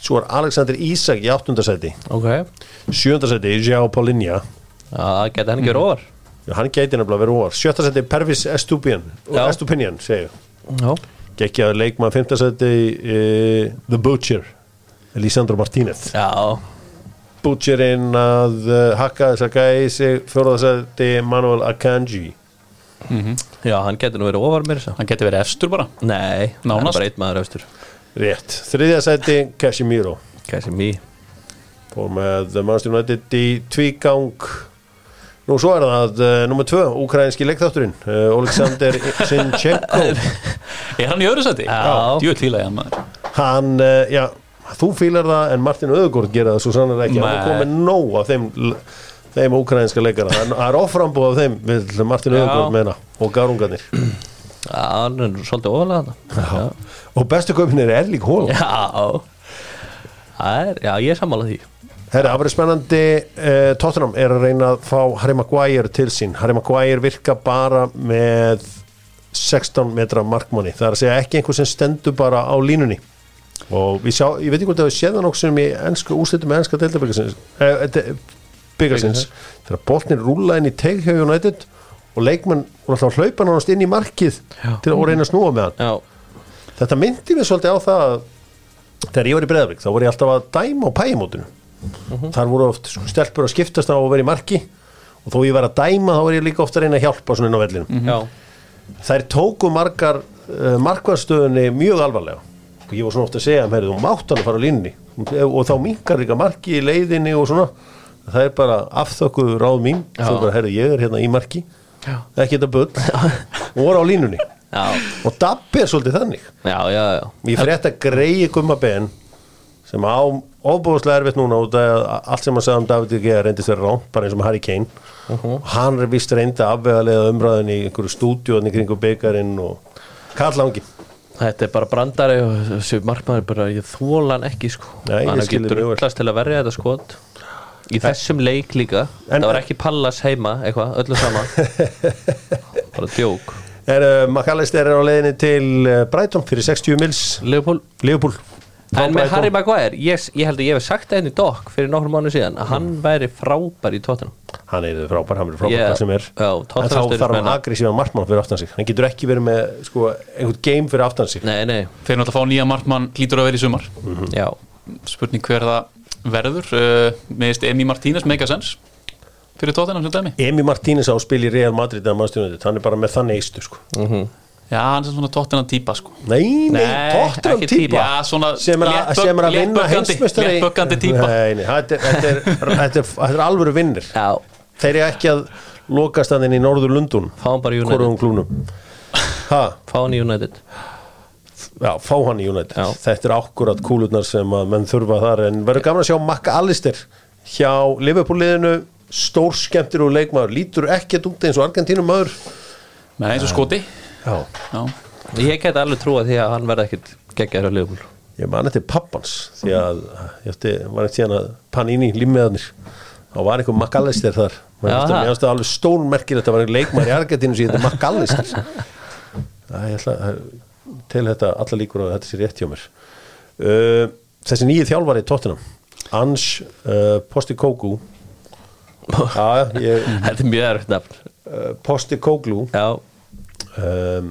S1: Svo er Alexander Isak í áttundasæti
S3: ok Já,
S1: Sjöndasæti, Jao Paulinja
S3: það geti hann ekki róar
S1: Hann gæti nefnilega verið óvar Sjöndasæti, Pervis Estupian
S3: Já.
S1: Estupinian, segju
S3: Já,
S1: geggjaður leikmann 15. seti uh, The eh, Butcher Lisandro Martínez
S3: Já,
S1: Butcherinn að uh, hakka þessa gæi í sig fjóraðsætti Manuel Akanji
S3: já, hann getur nú verið ofar mér þess að
S2: hann geti verið efstur bara
S3: Nei, hann er
S2: Nánast.
S3: bara einn maður östur
S1: rétt, þriðjasætti Casemiro
S3: Kæsi mý
S1: fór með Manchester United í tvígang nú svo er það uh, nummer tvö, ukrainski leikþátturinn uh, Oleksandr Sinchenko
S2: er hann í öðru sæti?
S3: Já.
S2: djúið tílaði hann maður
S1: hann, uh, já, þú fílar það en Martin Öðugord gera það svo sannlega ekki hann er
S2: Nei.
S1: komið nóg af þeim þeim ukrainska leikara, það er- það er oframbúð af þeim við Martin
S3: Já.
S1: Öðugord meina og garungarnir
S3: Já, hann er nú svolítið ofalega
S1: Já.
S3: hann
S1: og bestu kaupin er Erling Haaland
S3: Já Það er, já, ég er sammála því
S1: Herra, það verður spennandi uh, Tottenham er að reyna að fá Harry Maguire til sín Harry Maguire virka bara með 16 metra markmanni það er að segja ekki einhver sem stendur bara á línunni og við sjá, ég veit ekki hvort að við séðan okkur sem í ennsku, úslitum með ennska deildabyggasins eh, byggasins þegar boltin rúla inn í teig hjá United og leikmann og alltaf hlaupa nánast inn í markið
S3: Já.
S1: til að reyna að snúa með hann
S3: Já,
S1: þetta myndi mér svolítið á það að þegar ég var í Breðavík þá voru ég alltaf að dæma á pæjumótinu
S3: Mhm.
S1: þar voru oft sko, stelpur að skiptast á að vera í marki og þó ég var að dæma þá var ég líka ofta að reyna að hjálpa svona inn á vellinu
S3: já,
S1: þær tóku margar uh, markvarstöðunni mjög alvarlega og ég var svona ofta að segja mér þú mátt hann að fara á línni og þá minkar líka marki í leiðinni og svona það er bara afþökkuð ráð mín þú
S3: Já.
S1: bara herri ég er hérna í marki
S3: Já.
S1: ekki þetta
S3: *laughs*
S1: bull og voru á línunni
S3: já,
S1: og dabbi er svolítið þannig
S3: já, já, já.
S1: Ég frétt að greiði Gumma Ben sem á ofbúðslega erfitt núna út af að allt sem hann sagði um David De Gea reyndist verið rámt, bara eins og með Harry Kane
S3: Uh-huh.
S1: og hann er vist reyndi að afvegalega umræðin í einhverju stúdíóðin í kringu byggarinn og Karl Langi
S3: Þetta er bara brandari og þessi markmaður er bara, ég þóla hann ekki sko
S1: Nei, ég
S3: hann
S1: skil þig
S3: getur
S1: mjög vel.
S3: rullast til að verja þetta skot Í þessum leik líka
S1: En-
S3: Það var ekki Pallas heima, eitthvað,
S1: *laughs*
S3: öllu sama Bara djók
S1: er, uh, McAllister er á leiðinni til uh, Brighton fyrir 60 mils
S3: Leopold
S1: Leopold
S3: En með Harry Maguire, ég, ég held að ég hef sagt það henni dokk fyrir nokkrum mánu síðan að
S1: Mm.
S3: hann væri frábær í tóttunum
S1: hann er frábær, hann er frábær
S3: Yeah.
S1: yeah. sem er
S3: Já,
S1: en þá
S3: Tottenham
S1: þarf hann
S3: stuðningsmenn.
S1: aggressívan markmann fyrir aftan sig hann getur ekki verið með sko, einhvern game fyrir aftan sig
S3: Nei, nei,
S2: þeir náttúrulega fá nýja markmann lítur að vera í sumar
S1: Mhm.
S3: já,
S2: spurning hver það verður uh, meðist Emi Martínez megasens fyrir tóttina sem dæmi
S1: Emi Martínez á spil í Real Madrid eða Manchester United, hann er bara með þannig eistu sko.
S2: já, hann er svona tóttina típa sko
S1: Nei, nei,
S3: Nei,
S1: Tottenham
S3: ekki
S1: típa
S2: Já, svona
S1: sem er, að,
S2: léttbögg-
S1: sem er að vinna
S2: léttböggandi-
S1: heimsmeistari
S2: léttböggandi típa.
S1: Nei, nei, þetta er, þetta er, þetta er, þetta er alvöru vinnir
S3: já
S1: Þeir eru ekki að lokast hann inn í norður Lundun
S3: Fáum bara í United.
S1: Hvorum klúnum ha,
S3: Fá hann í United
S1: Já, fá hann í United
S3: Já.
S1: Þetta er akkurat kúlurnar sem að menn þurfa þar En verður gaman að sjá Makka Allister Hjá Liverpool-liðinu Stór skemmtir og leikmaður Lítur ekkert út eins og Argentínum maður
S2: með eins og skoti
S1: Já
S2: já.
S3: Ég get alveg trúa því að hann verði ekkit geggjaður á Leopold
S1: Ég man eftir pappans því að ég ætti, var eftir hérna Panini límiðanir þá var einhver McAllister þar Man
S3: Já,
S1: eftir-
S3: það.
S1: mér finnst það alveg stónmerkir þetta var einhver leikmæri í Argentínu sem þetta McAllister Æ, ég ætla að- til þetta alla líkur og þetta sé rétt hjá mér uh, þessi nýju þjálfari í Tottenham Ange uh, Postikoglu Já, ég
S3: *laughs* Þetta er mjög erfitt nafn
S1: uh, Postikoglu
S3: Já,
S1: um,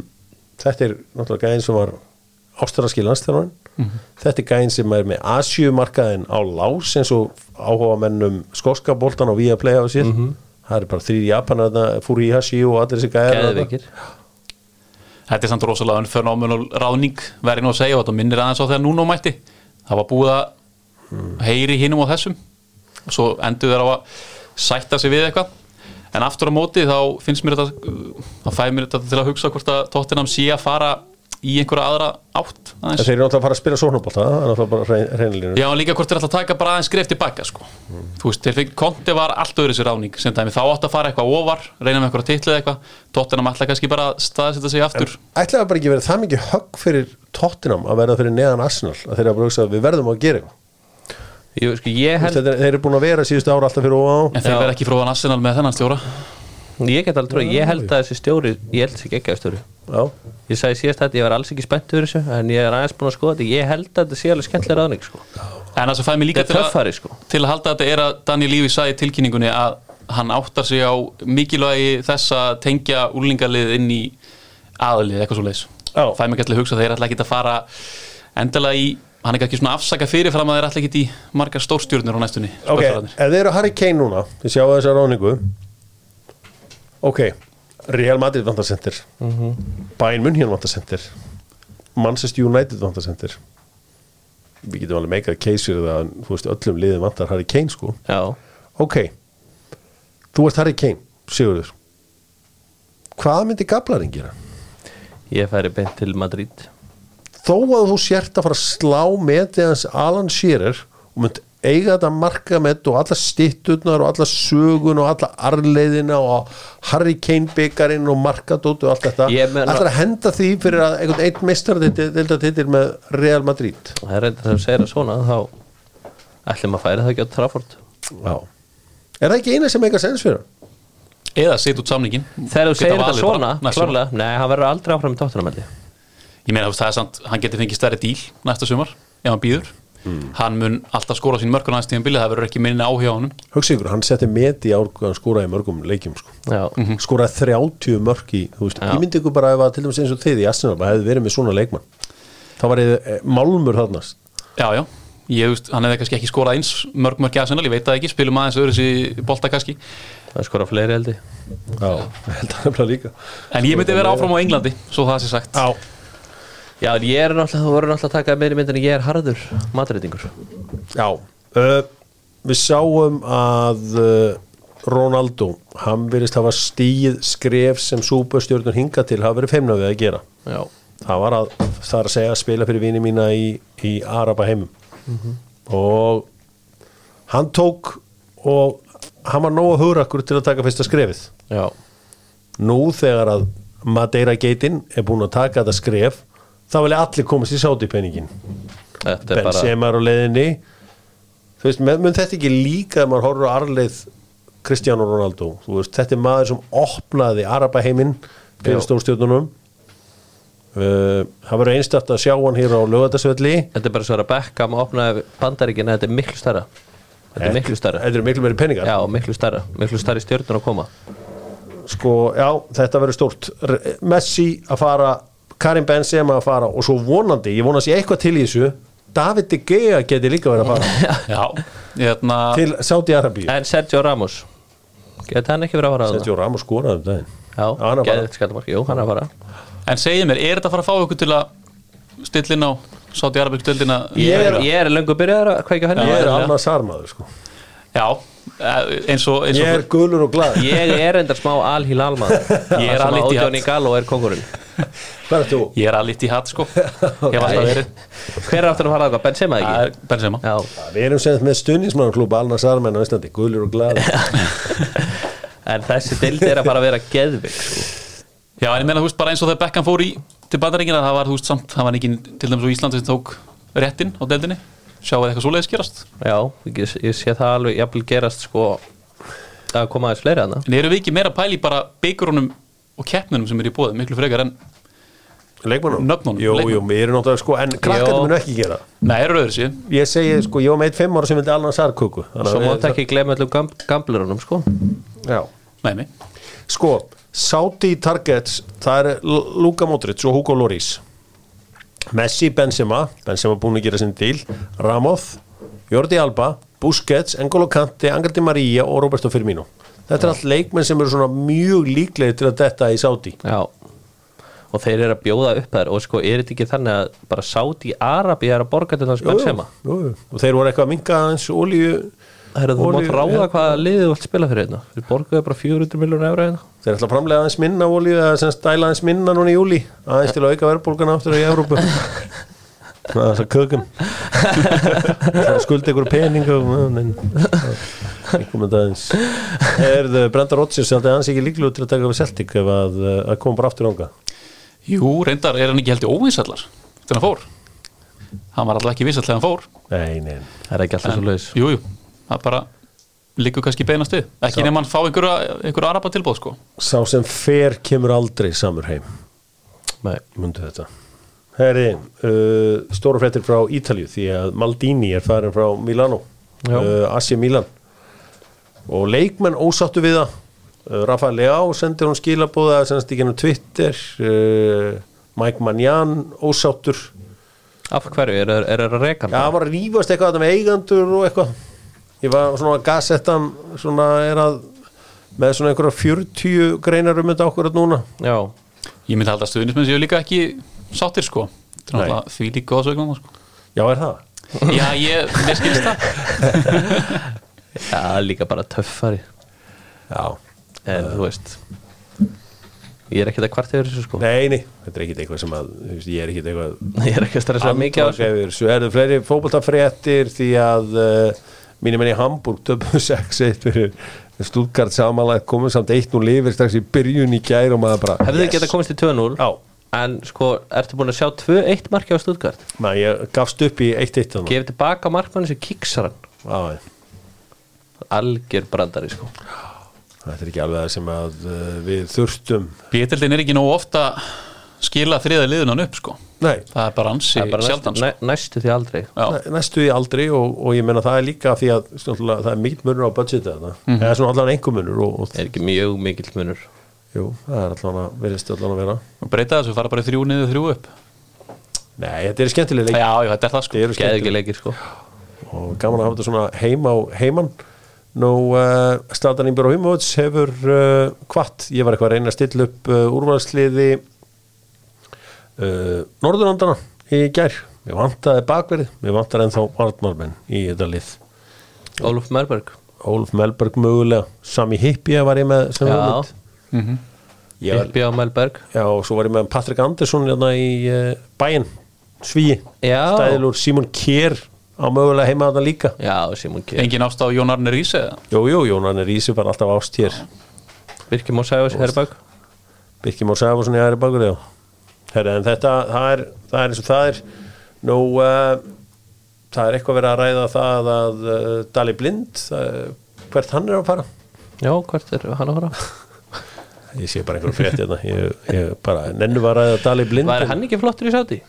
S1: þetta er náttúrulega gæðin sem var ástralski landstjálfarinn
S3: Mhm.
S1: þetta er gæðin sem er með Asjumarkaðin á lás eins og áhuga mennum skoskaboltan og við að playa á sér
S3: Mhm.
S1: það er bara þrýr Japanar þarna, Furihashi og allir þessi gæðar þarna.
S3: geðveikir
S2: Þetta er samt rosalega önn fenómenal ráðning verið nú að segja og þetta minnir aðeins á þegar núna mætti það var búið að heyri hinum á þessum og svo endur þeir á að sætta sig við eitthvað en aftur á móti þá finnst mér þetta þá fæði mér þetta til að hugsa hvort að tóttinam sé að fara í einhverja aðra átt
S1: En
S2: aðeins.
S1: þeir eru náttúrulega að fara að spila sóknarbolta það er náttúrulega bara hrein- hreinlínu
S2: Já, en líka hvort þeir ætla að taka bara aðeins skrif tilbaka sko. Þú veist, þeir fengið konti var allt öðru sér ráning sem dæmi, þá átt að fara eitthvað ofar reyna með eitthvað titlið eitthvað, tóttinam ætla kannski bara að staðsetja sig aftur
S1: ætlaði það bara ekki verið það mikið högg fyrir Tottenham að verða fyrir neðan Arsenal að þeir eru bara að hugsa að við verðum að gera eitthvað
S3: Jú, sko,
S1: Þú veist,
S3: ég held
S1: þetta er- þeir eru búin að vera síðustu ára alltaf fyrir ofan á.
S2: En þeir
S3: Já.
S2: verða ekki fróðan Arsenal með þennan stjóra
S3: Ég get alveg trúið, ég held að þessi stjóri Ég held þessi geggjaður stjóri
S1: Já.
S3: Ég sagði síðast þetta, ég var alls ekki spennt fyrir þessu En ég er aðeins búin að skoða þetta Ég held að þetta sé alveg skemmtilega ráðning sko.
S2: En það sem fæði mig líka
S3: Þetta
S2: til
S3: er
S2: að,
S3: töffari sko.
S2: til að halda þetta er að Daniel Lífi sagði í tilkynningunni að hann áttar sig á mikilvægi þess að tengja úlingalið inn í aðalið eitthvað svo leis
S1: Já.
S2: Fæði mig gætlega að hugsa að þeir ætla ekki að fara endilega í hann er kannski svona afsaka fyrirfram að þeir ætla ekki í margar stórstjörnur á næstunni
S1: Ok,
S2: Spurningarnir.
S1: ef þið eru Harry Kane núna Þið sjáu þessa ráningu Ok, Real Madrid vantarsendir mm -hmm. Bayern München vantarsendir Manchester United vantarsendir Við getum alveg meikað case fyrir það að, Þú veist, öllum liðum vantar Harry Kane sko
S3: já,
S1: Ok, þú ert Harry Kane, Sigurður Hvað myndi gablarinn gera?
S3: ég færi beint til Madrid
S1: Þó að þú sért að fara að slá með hans Alan Shearer og mynd eiga þetta marka með og alla stitturnar og alla sögun og alla arleiðina og Harry Kane byggarinn og markadótt og allt þetta
S3: Ég meina-
S1: ætlar að henda því fyrir að einhvern einn meistar delta titil með Real Madrid
S3: það er reynda þegar þú segir það svona þá ætlum að færi það ekki á Trafford
S1: Já. Er það ekki eina sem eitthvað sens fyrir? hann?
S2: eða setja út samningin
S3: þegar þú
S2: Geta
S3: segir það
S2: valið bara
S3: svona,
S2: næsta sumar.
S3: klárlega nei, hann verður aldrei áfram í tóttunarmelli
S2: ég meina þú veist, það er samt, hann getur fengið stærri díl næsta sumar, ef hann býður
S3: Hmm.
S2: hann mun alltaf skora sín mörkur næst tíðan bilið það verður ekki minni áhjá honum
S1: Hugsa ykkur, hann setti met í árgóð hann skóraði í mörgum leikjum sko.
S3: já,
S1: skoraði 30 mörk í þú veist, ég myndi ykkur bara ef að til dæmis eins og þið í Arsenal bara hefði verið með svona leikmann þá var ég eh, málmur þarnast
S2: já, já, ég veist, hann hefði kannski ekki skorað eins mörg mörg aðsennal, ég veit það ekki, spilum aðeins öðru sér bolta kannski,
S3: það skora fleiri eldi
S1: Já, *laughs* ég held að nefnilega líka
S2: en ég myndi vera áfram á Englandi svo það sé sagt,
S1: Já,
S3: já, en ég er náttúrulega, þú verður náttúrulega að taka meiri myndin ég er harður madridingur
S1: já uh, Við sáum að uh, Ronaldo, hann virðist hafa stíð skref sem súpastjörnur hinga til hafa verið feimna við að gera
S3: já,
S1: það var að, það er að segja að spila fyrir vini mína í, í Araba heimum og hann tók og hann var nógu hugrakkur til að taka fyrsta skrefið
S3: já,
S1: nú þegar að Madeira geitin er búin að taka þetta skref þá vilja allir komast í sátipenningin
S3: þetta er bara
S1: Benzema er á leiðinni þú veist, men- mun þetta ekki líka ef maður horfður á arleið Cristiano Ronaldo, þú veist, þetta er maður sem opnaði Araba heiminn fyrir
S3: Já.
S1: stórstjórnunum uh, það verður einstætt að sjá hann hér á lögatarsvelli
S3: Þetta er bara svo að Beckham opnaði bandaríkina, þetta er miklu starra Þetta er miklu starra
S1: Þetta eru miklu meiri peningar
S3: Já, miklu starra, miklu starri stjörnur að koma
S1: sko, já, þetta verður stórt R- Messi að fara Karim Benzema að fara og svo vonandi ég vonast ég eitthvað til í þessu David De Gea geti líka verið að fara
S2: já, hérna
S1: til Saudi Arabíu
S3: En Sergio Ramos Geti hann ekki verið að fara að
S1: Sergio Ramos skoraði um daginn hann
S3: Já,
S1: að fara
S3: geðið skallmark, jú, hann er að fara
S2: en segið mér, er þetta að fara að fá ykkur til að stilla inn á Sáti Arabík dildina
S1: Ég er-
S3: Ég er löngu byrjaður að kveika henni
S1: ég er annað sarmaður sko
S2: já, eh, eins og, eins og
S1: ég er gulur og glad
S3: Ég er endar smá alhíl
S1: *laughs*
S3: almaður
S2: Ég er
S3: Það sem að
S2: Al-Ittihad.
S3: Ódjóni Gallo er kongurinn
S1: hvað er þú?
S2: ég er að liti
S1: *laughs*
S2: hatt sko ég var alltaf verið,
S3: Hver er aftur að fara að það, Benzema
S2: það
S3: ekki?
S2: er Benzema
S3: Já,
S1: við erum sem sagt með stundinsmannklúb Alna Sarmenn á Íslandi gulur og glad
S3: en þessi dildi er að fara að vera geðvik sko.
S2: Já, en ég meina, þú veist, bara eins og þegar Beckham fór í til bandaringina, það var, þú veist, samt, það var ekki til dæmis á Íslandi sem tók réttin á deildinni sjáu eitthvað svoleiðis gerast
S3: Já, ég, ég sé það alveg jafnvel gerast sko að koma aðeins fleiri hana
S2: en eru við ekki meira að pæla í bara byggrunum og keppnunum sem eru í bóðum, miklu frekar en
S1: leikmannum?
S2: Nöfnunum,
S1: jú, jú,
S2: leikmönnum.
S1: við erum náttúrulega sko en krakkarnir
S3: Jú.
S1: munu ekki gera það.
S2: Nei, eru öðru sér,
S1: ég segi sko, ég var með eitt fimm ára sem vildi Alna Sarköku
S3: Svo mátt ekki glemja allum gam, gamblurunum sko
S1: já
S2: nei, nei
S1: Sko, Saudi Targets það er L- Luka Modric og Hugo Lloris Messi, Benzema Benzema búin að gera sinn díl Ramoth, Jordi Alba Busquets, N'Golo Kante, Angel Di Maria og Roberto Firmino Þetta er allt leikmenn sem eru svona mjög líklegir til að detta í Saudi
S3: Já Og þeir eru að bjóða upp þær og sko er þetta ekki þannig að bara Saudi Arabi er að borga til þess Benzema
S1: jú, jú. Og þeir voru eitthvað að minka eins olíu
S3: Herra, þú mátt
S1: olíu-
S3: ráða hvaða liðið þú vilt spila fyrir hérna Þeir borgaðu bara 400 miljónu eura hérna
S1: Þeir ætla að framlega aðeins minna olíu eða sem stæla aðeins minna núna í júli aðeins til að auka verðbólgan aftur í Evrópu Það er svo kökum Það skuldi ykkur peningum einhverjum aðeins Er það Brenda Rodgers held að hans ekki líklegur til að taka við Celtic ef að, eh, að koma bara aftur ánga
S2: Jú, reyndar er hann ekki heldur óvinsallar þegar hann fór hann var alltaf ekki vissall þegar hann fór
S1: Nei, nei,
S3: Það er ekki alltaf svo laus
S2: Jú, jú, það bara liggur kannski beinast við ekki nema hann fá einhverja, einhverja araba tilbóð, sko
S1: sá sem fer kemur aldrei samur heim
S3: Nei.
S1: Mundu þetta Herri, uh, stóra fréttir frá Ítalju því að Maldini er farin frá Milano
S3: Já.
S1: uh, Asi Milan og leikmenn ósáttu við það uh, Rafael Leao sendir hún skilabóða semst í gennum Twitter uh, Mike Manjan ósáttur
S3: Af hverju, er það er, er að reka hann?
S1: Já, hann var að rífast eitthvað þarna með eigandur og eitthvað Ég var svona að gasetta hann svona er að með svona einhverja 40 greinar um þetta okkur núna
S3: Já,
S2: Ég myndi halda að stuðnismenn séu líka ekki sáttir sko Þetta er
S1: Nei.
S2: náttúrulega því líka góðsögnum sko.
S1: Já, er það?
S2: Já, ég, mér skilst það
S3: já líka bara töffari
S1: Já
S3: En þú veist Ég er ekkert að kvart yfir þessu sko
S1: Nei, nei, þetta er ekkit eitthvað sem að þú veist, ég er ekkit eitthvað
S3: Ég er ekki að stressa mikið á
S1: Andvaka
S3: þessu
S1: yfir þessu er það fleiri fótboltafréttir því að uh, mínum enn í Hamburg *laughs* töpu 6-1 fyrir Stuttgart samanlega komum samt 1-0 lifir strax í byrjun í gær og maður bara
S3: Hefðu þið getað komist í 2-0
S1: Já.
S3: En sko, ertu búin að sjá 2-1 marki á Stuttgart
S1: Maður, ég gafst upp í 1-1 þarna.
S3: Gefið tilbaka markmann sem kiksar hann
S1: Já,
S3: Alger brandari sko
S1: Þetta er ekki alveg það sem að uh, við þurftum
S2: Bétildin er ekki nógu ofta skila þriða liðunan upp sko
S1: Nei,
S2: Það er bara ansi
S3: Það er bara
S2: sjaldan
S3: næstu,
S2: sko.
S3: næ, næstu því aldrei
S2: Já,
S1: næ- næstu í aldri og, og ég menna það er líka því að snúttúrulega, það er mikill munur á budgeti þarna
S3: Mhm.
S1: eða svona allan einhver munur og, og,
S3: Er ekki mjög mikill munur
S1: Jú, það er allan að verðist allan að vera
S2: og breyta þessu, fara bara í þrjú niður þrjú upp
S1: Nei, þetta er skemmtileg
S2: Já,
S1: leik
S2: já, þetta er það sko
S1: Þetta eru
S3: Geði ekki
S1: skemmtileg
S3: leikir sko
S1: og gaman að hafa þetta svona heim á heiman Nú, uh, Slatan Ímbjörg og Himóts hefur uh, kvart, ég var eitthvað að reyna að stilla upp uh, úrvalsliði uh, Norðurlandana í gær, mér vantaði bakverið mér vantaði ennþá vartmálmenn í þetta lið
S3: Ólf Mörberg
S1: Ólf Melberg mögulega Sami Hippie var ég með sem
S3: Já,
S1: hugmynd.
S2: Mhm.
S1: Ég var,
S3: Ylbi á Mörberg
S1: já, og svo var ég með Patrik Andersson hérna í uh, bæinn Svíi,
S3: Já.
S1: stæðilur Simon Kjær á mögulega heima þarna líka
S3: Já, Simon Kjær
S2: Engin ást á Jón Arne Ríse eða?
S1: Jú, jú, Jónan er ísir bara alltaf ást hér
S3: Birkir Mósæfis, Herbæk
S1: Birkir Már Sæfarsson í æri bakur já Herra, en þetta, það er, það er eins og það er nú uh, það er eitthvað verið að ræða það að uh, Dali Blind uh, hvert hann er að fara
S3: Já, hvert er hann að fara?
S1: ég sé bara einhverjum frétt hérna ég, ég bara nennu var að ræða Dali Blind
S3: Var
S1: en-
S3: hann ekki flottur í sáti?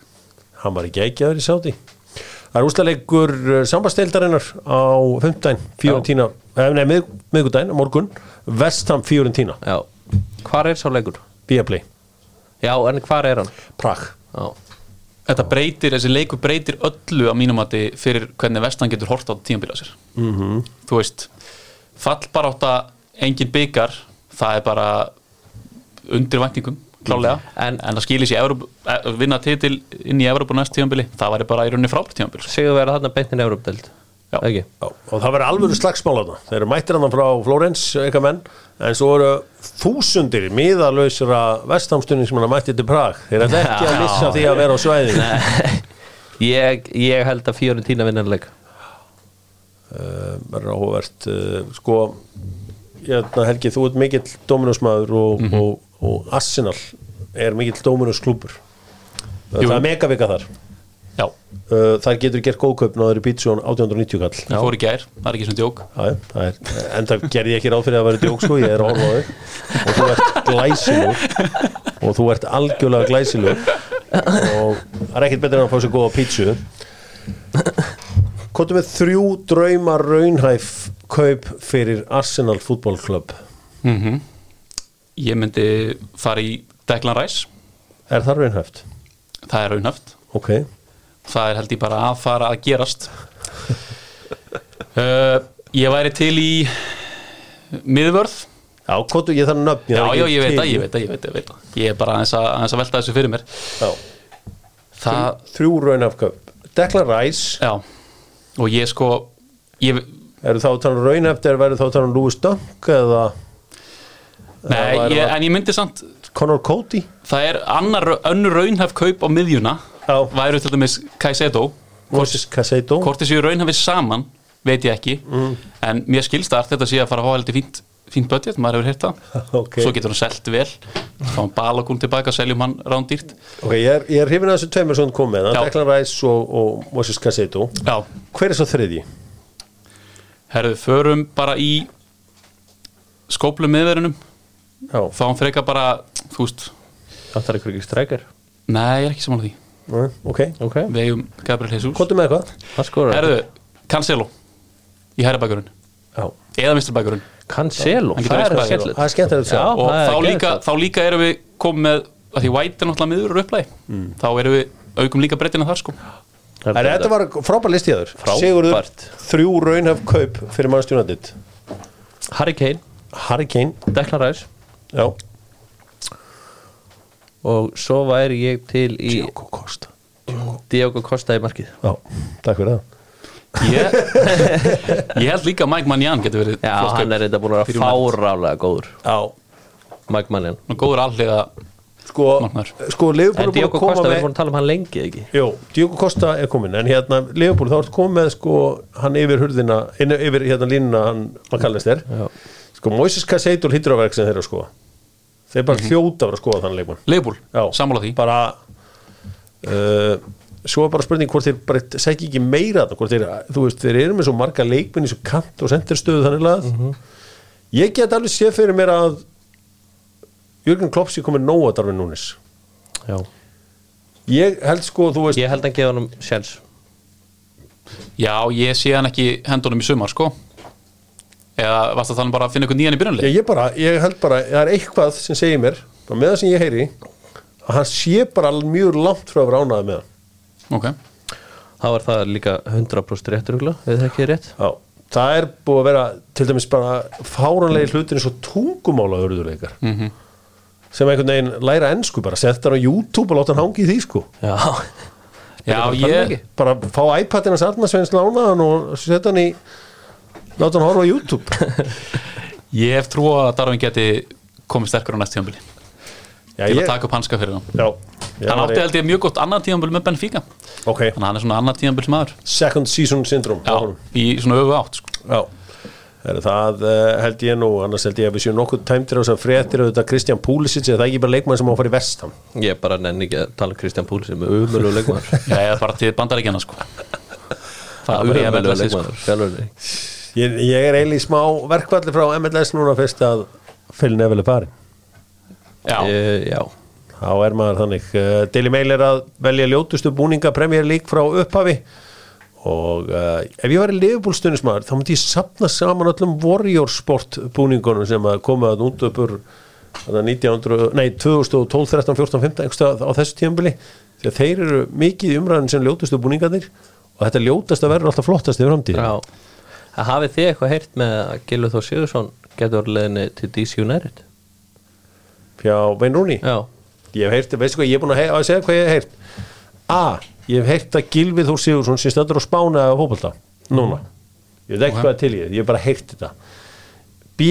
S1: hann var ekki ekki aður í sáti það er úslaleikur sambasteildarinnar á 15, Fiorentina eh, nei, mið, miðgudaginn, á morgun Vestham Fiorentina,
S3: Já Hvar er sá leikur?
S1: Viaplay,
S3: Já, en hvar er hann?
S1: Prag
S3: Já,
S2: Þetta breytir, þessi leiku breytir öllu að mínum mati fyrir hvernig vestan getur hort á tímabila sér -hmm. Þú veist, fallbarátta engin byggar, það er bara undir væntingum klálega,
S3: En-
S2: en, en það skilir sér Evróp, eh, vinna titil inn í Evrópu næst tímabili, það væri bara í rauninni frábært tímabil sko.
S3: segðu verið þarna beintin Európdeld
S2: Já.
S3: Ekki?
S1: Já, og það verður alvöru slagsmál þarna þeir eru mættir hann frá Flórens, eitthvað menn en svo eru þúsundir miðalöysra vestamstunning sem hann mætti til Prag þeir eru ekki að missa því að vera á svæðin
S3: Ég, ég held að fjörun tína vinnanleik
S1: Eh, verður áhugavert uh, sko hérna, Helgi, þú ert mikill Dominusmaður og, og, og Arsenal er mikill Dominusklúpur
S2: Jú.
S1: það er megavika þar
S2: Já,
S1: uh, þar getur gert góðkaup náður í Bítsjón 1890 kall
S2: það fór í gær, það er ekki sem djók
S1: Já, já, það er, en það gerði ég ekki ráð fyrir að vera djók sko, ég er að horfa á þau og þú ert glæsilegur og þú ert algjörlega glæsilegur og það er ekkert betur en að fá sér góða pítsu Kvotum við þrjú drauma raunhæf kaup fyrir Arsenal Football Club
S2: mm Ég myndi fara í Declan Rice,
S1: Er það raunhæft?
S2: það er raunhaft
S1: Ok,
S2: það er held ég bara að fara að gerast uh, ég væri til í miðvörð
S1: já, kvotum, ég þarf nöfn
S2: já,
S1: þarf
S2: já,
S1: ekki
S2: ég veit
S1: til-
S2: það, ég veit það, ég veit það, ég veit það ég er bara aðeins að, aðeins að velta þessu fyrir mér
S1: Já,
S2: það,
S1: Þrjú raunhæf kaup Declan Rice,
S2: já og ég sko ég,
S1: eru þá tann raunhæft eða verður þá tann Lewis Dunk eða
S2: nei,
S1: væri
S2: ég,
S1: það-
S2: en ég myndi samt
S1: Connor Cody?
S2: það er annar, önnur raunhaf kaup á miðjuna
S1: Já.
S2: væru til dæmis Kaisedo
S1: Moses Casado
S2: hvort þessi raunhafið saman veit ég ekki, en mér skilst að þetta sé að fara að hafa heldur fínt, fínt budget maður hefur heyrt það
S1: Ok.
S2: svo getur hann selt vel þá hann balakún tilbaka, seljum hann rándýrt
S1: Ok, ég er, ég er hrifin að þessu tveimur sem hún kom með, það
S2: Já.
S1: er Declan Rice og, og Moses Cassetto.
S2: já,
S1: Hver er svo þriðji?
S2: herðu, förum bara í skóplum miðverunum
S1: Já,
S2: þá hann freka bara, þú veist
S3: Það er ykkur ekki strækir
S2: nei, ég er ekki saman að því,
S1: Nei, ok.
S3: Ok
S2: við eigum Gabriel Jesus
S1: Kvotum með eitthvað?
S3: Það skorar
S2: herðu, Cancelo í herrabakurinn,
S1: Já.
S2: eða mistrabakurinn
S3: Cancelo,
S2: Hann getur
S3: það
S2: verið
S3: er
S2: spæðið.
S3: skellilegt
S1: Það er skemmt að
S3: Já.
S1: segja.
S2: og
S3: það er
S2: þá
S3: geðveikt.
S2: líka, þá líka erum við komið með að því White er náttúrulega miður og upplæg þá erum við aukum líka breytina þar sko
S1: En þetta var frábær listiðaður
S3: Frábært.
S1: Sigurður, þrjú raunhaf kaup fyrir mannstjónandit
S3: Harry Kane,
S1: Harry Kane,
S3: Declan Rice
S1: já
S3: og svo væri ég til í
S1: Diogo Costa
S3: Diogo Costa í markið
S1: Já, takk fyrir það
S3: *laughs*
S2: ég, ég held líka að Mike Mannian getur verið
S3: Já,
S2: flott kaup.
S3: hann er þetta búin að
S2: Fyrir
S3: vera fárálega góður
S1: Já
S3: Mike Mannion
S2: Svona góður allega
S1: Sko,
S2: Magnar.
S1: sko Leifupúl
S3: En
S1: er búin að
S3: Diogo
S1: koma
S3: Costa, við erum
S1: með
S3: búin að tala um hann lengi ekki
S1: Jó, Diogo Costa er komin En hérna, Leifupúl, þá ertu komið með sko Hann yfir hurðina, inn, yfir hérna línuna Hann, maður kallast þér
S3: Já.
S1: Sko, Moises Kaseitur hlýtur á verk sem þeir eru að skoða sko. Þeir bara hljóta að vera að skoða þann leikmann
S2: Leifbúl,
S1: Já.
S2: Mhm. sammála því
S1: bara uh, svo er bara spurning hvort þeir bara segja ekki meira þarna, hvort þeir, þú veist, þeir eru með svo marga leikminni svo kant og senderstöðu þannig lað
S2: Mhm.
S1: ég get alveg séð fyrir mér að Jörgen Klopp sé komið nóg að darfið núnis
S3: Já.
S1: ég held sko, þú veist
S3: Ég held að hann gefa hann sjens
S2: Já, ég sé hann ekki hendunum í sumar sko eða varst að þannig bara að finna ykkur nýjan í byrjunlega
S1: ég, ég, bara, ég held bara, það er eitthvað sem segir mér bara með það sem ég heyri að hann sé bara alveg mjög langt frá að vera ánæði með hann
S2: Ok,
S3: þá var það líka 100% rétt rúgla við það ekki er rétt
S1: Já, það er búið að vera til dæmis bara fáranlegi hlutin eins og tungumála örðuleikar
S2: Mhm.
S1: -hmm. sem einhvern veginn læra ennsku bara setja hann á YouTube og láta hann hangi í því sko
S3: Já,
S2: já
S3: bara
S2: ég,
S3: tölvuleiki.
S1: bara fá iPadin hans Arnarsveins lánaðan og setja hann í láta hann horfa á YouTube
S2: ég hef trú á að Darvin geti komið sterkur á næst tíðanbili
S1: Já,
S2: til
S1: ég-
S2: að taka upp hanska fyrir hann
S1: já, já
S2: Hann átti
S1: ég-
S2: held ég mjög gott annan tíðanbili með Benfica þannig
S1: Ok,
S2: að hann er svona annan tíðanbils maður
S1: second season syndrome hjá honum.
S2: Já, í svona öfu átt sko
S1: Já Heru, það uh, held ég nú, annars held ég að við séum nokkuð tæmtir á þess að fréttir auðvitað Kristján Púlisic eða það er ekki bara leikmann sem á að fara í vestam
S3: *laughs* ég bara nenni ekki að tala um Kristján Púl sem er umölu leikmaður
S2: Já, eða bara til bandaríkjana sko Það er bara ég
S3: Ömurlegur
S2: að velja sig sko
S3: leikmaður, þjálfarinn.
S1: Ég, ég er eiginlega í smá verkvalli frá MLS núna fyrst að Phil Neville er farin.
S2: Já,
S3: Eh, Já,
S1: Þá er maður þannig. Uh, Daily Mail er að velja ljótustu búninga Premier League frá upphafi og uh, ef ég var í liðbúlstunismar þá myndi ég sapna saman öllum Warrior Sport búningunum sem að koma að út uppur þarna 1900, nei, 2012, 13, 14, 15 einhverstað á þessu tíðanbili því að þeir eru mikið í umræðin sem ljótustu búningarnir og þetta ljótasta verður alltaf flottast í framtíð
S3: já Að hafið þið eitthvað heyrt með að Gilvur Þór Sigursson getur leðinni til DC United?
S1: Fjá Wayne Rooney
S3: Já,
S1: Ég hef heyrt, veistu hvað, ég er búin að, hei, að segja hvað ég hef heyrt A, ég hef heyrt að Gilvið Þór Sigursson sem stöndur á spána eða fótbolta núna, ég veit ekki hvað er til í þetta, ég hef bara heyrt þetta B,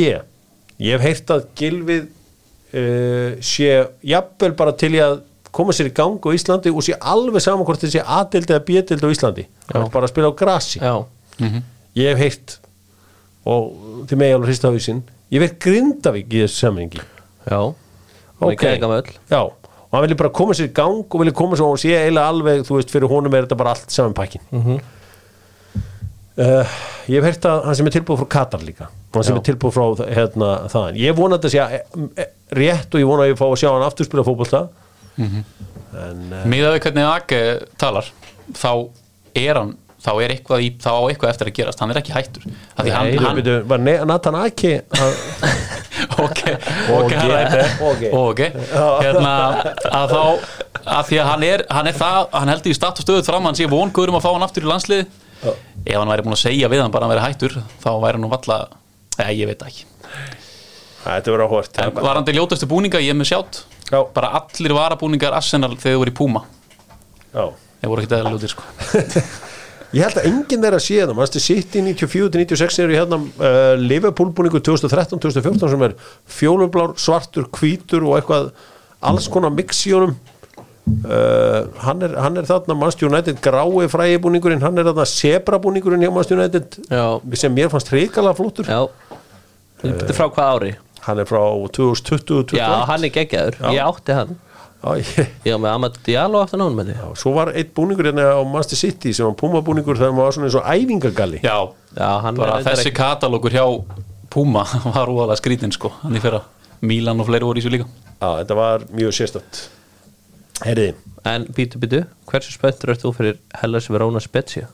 S1: ég hef heyrt að Gilvið uh, sé jafnvel bara til í að koma sér í gang á Íslandi og sé alveg saman hvort þessi A-dild eða B-dild á Íslandi hann er bara að spila á grasi
S3: já,
S2: Mhm.
S1: ég hef heyrt og þið megi alveg hrista á hausinn ég hef heyrt Grindavík í þessu samhengi
S3: já Hann er geðgamall.
S1: Já, og hann vilja bara koma sér í gang og vilja koma sér og hún sé eiginlega alveg þú veist, fyrir honum er þetta bara allt saman pakkin uh, Ég hef heyrt að hann sem er tilbúið frá Katar líka hann sem
S3: Já.
S1: er tilbúið frá þ- hérna, þaðan Ég vona að þetta sé eh, eh, rétt og ég vona að ég fá að sjá hann aftur spila fótbolta En uh,
S2: miðað við hvernig Ake talar þá er hann þá er eitthvað, í, þá á eitthvað eftir að gerast hann er ekki hættur Af því
S1: Nei,
S2: hann, hann,
S1: byrju, var Ne- Nathan Aki að,
S2: *laughs* ok, ok,
S1: ok.
S2: ok, ok hérna, að þá að því að hann er, hann er það, hann heldur í statt og stöðuð fram, hann sé vonguður um að fá hann aftur í landslið ef hann væri búin að segja við hann bara að hann væri hættur, þá væri hann nú valla eða ég veit það ekki,
S1: Þetta verður áhvert
S2: en varandi ljótastu búninga ég er með sjátt,
S1: Já.
S2: bara allir varabúningar Arsenal þegar þau voru í Puma
S1: Já
S2: þeir voru ekkert eða ljótir sko
S1: Ég held að enginn þeirra sé það, mannstu City 94-96 eru hérna uh, Liverpool búningu 2013-2014 sem er fjólublár, svartur, hvítur og eitthvað alls konar mix í honum uh, hann, er, hann er þarna mannstu United grái frægi búningurinn hann er þarna zebra búningurinn hjá mannstu United
S3: Já.
S1: sem mér fannst hrikalega flottur
S3: já Þetta er frá hvað ári?
S1: hann er frá 2020
S3: Já, hann er geggjaður, ég átti hann
S1: Æ,
S3: Ég á með Amat Diallo aftan ánum með því
S1: já, Svo var eitt búningur hérna á mannstu City sem var púma búningur þegar maður var svona eins og æfingagalli
S2: já,
S3: Já, hann
S2: bara
S3: er
S2: þessi
S3: reyndar
S2: katalókur hjá Puma *laughs* var úðalega skrítinn sko hann í fyrra, Milan og fleiri voru í svo líka
S1: Já, þetta var mjög sérstætt Herriði
S3: ekki- En býtu, býtu, hversu spöntur ert þú fyrir Hellas Verona Spezia?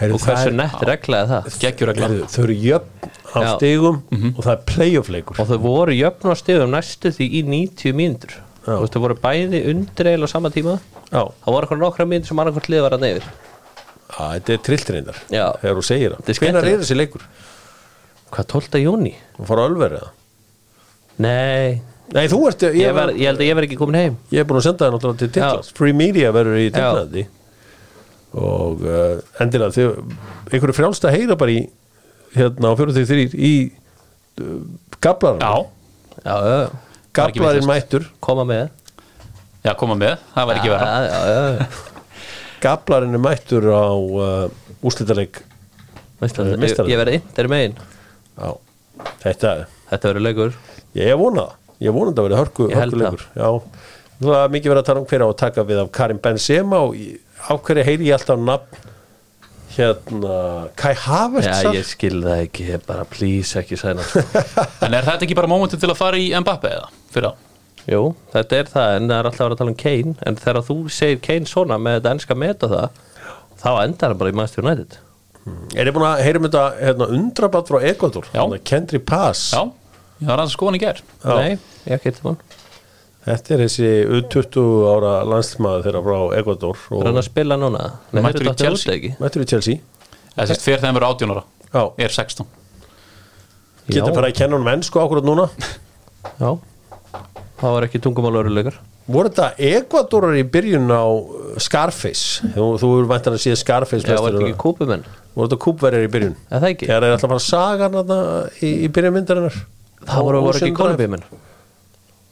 S1: Heyrðu,
S3: Og hversu nett reglaði það?
S2: geggjur að
S1: Heyrðu, þau eru jöfn á
S3: Já. Mhm.
S1: stigum og það er playoff leikur
S3: Og þau voru jöfn á stigum næstu því í 90 mínútur
S1: Já.
S3: Þú veist, þau voru bæði undir eil á sama tíma
S1: Já.
S3: Það voru eitthvað nokkra mínir sem annarkvæmt lið var að neyfir
S1: Æ, þetta er trilltrindar
S3: Já.
S1: þegar þú segir
S3: Þetta er
S1: það hvenær
S3: skemmtilegt.
S1: er þessi leikur?
S3: Hvað, 12. júni?
S1: Þú fara alveg eða?
S3: Nei,
S1: Nei, þú ert ég,
S3: ég, var, ég held að ég verð ekki komin heim
S1: ég er búin að senda það náttúrulega til Tittlands Free Media verður í Tittlandi og uh, endilega þegar einhverju frjálst að heyra bara í hérna á 43 í uh, gablarinn
S2: Já,
S3: Já, já, já.
S1: gablarinn mættur
S3: koma með
S2: já, koma með, það var ekki vera
S3: Já, já, já, já.
S1: gablarinn er mættur á uh, úrslitaleg
S3: Veist það, ég,
S1: Meistarinn.
S3: ég verði yndir megin
S1: á þetta er
S3: Þetta verður leikur
S1: Ég er vonað, ég er vonað að vera hörku,
S3: Ég held
S1: hörkulegur Já, það er mikið verið að tala um hver á að taka við af Karim Benzema og ég- á hverju heyri ég alltaf nafn hérna Kai Havertz
S3: Já, ég skil það ekki, ég bara please ekki sko. sæna
S2: En er þetta ekki bara mómentin til að fara í Mbappe eða? Fyrir á
S3: *laughs* Jú, þetta er það, en það er alltaf að vera að tala um Kane En þegar þú segir Kane svona með þetta ennska meta það Þá endar hann bara í Manchester United
S1: Er ég búin að heyrum þetta hérna, undrabatt frá Ecuador
S2: Já.
S1: hérna, Kendri Pass
S2: Já, ég var aðeins skoðan í gær
S1: Já.
S3: Nei, ég ekki eitthvað
S1: Þetta er þessi 20 ára landsmaður þeirra frá Ecuador
S3: Það er hann að spila núna Nei,
S2: Mættur í
S3: heyrðu, þetta er
S2: Chelsea.
S3: út ekki
S1: Mættur í Chelsea
S2: Eða sérst, fyrir þeim eru 18 ára
S1: Já.
S2: Ég er 16
S1: Getur
S3: Já.
S1: bara að kenna honum ennsku akkurat
S3: *laughs*
S1: núna
S3: Já, það var ekki tungumálaurulegur
S1: Voru þetta Ecuadorar í byrjun á uh, Scarface Þú, þú er væntan að sé Scarface
S3: Já, var
S1: mestarinn.
S3: þetta ekki kúpumenn
S1: voru þetta kúpverjar í byrjun
S3: Eða það ekki?
S1: þegar þeir alltaf að fara að saga hana í, í byrjun myndarinnar
S3: Það voru,
S1: Og-
S3: voru ekki
S1: og sundar-
S3: kolumbíumenn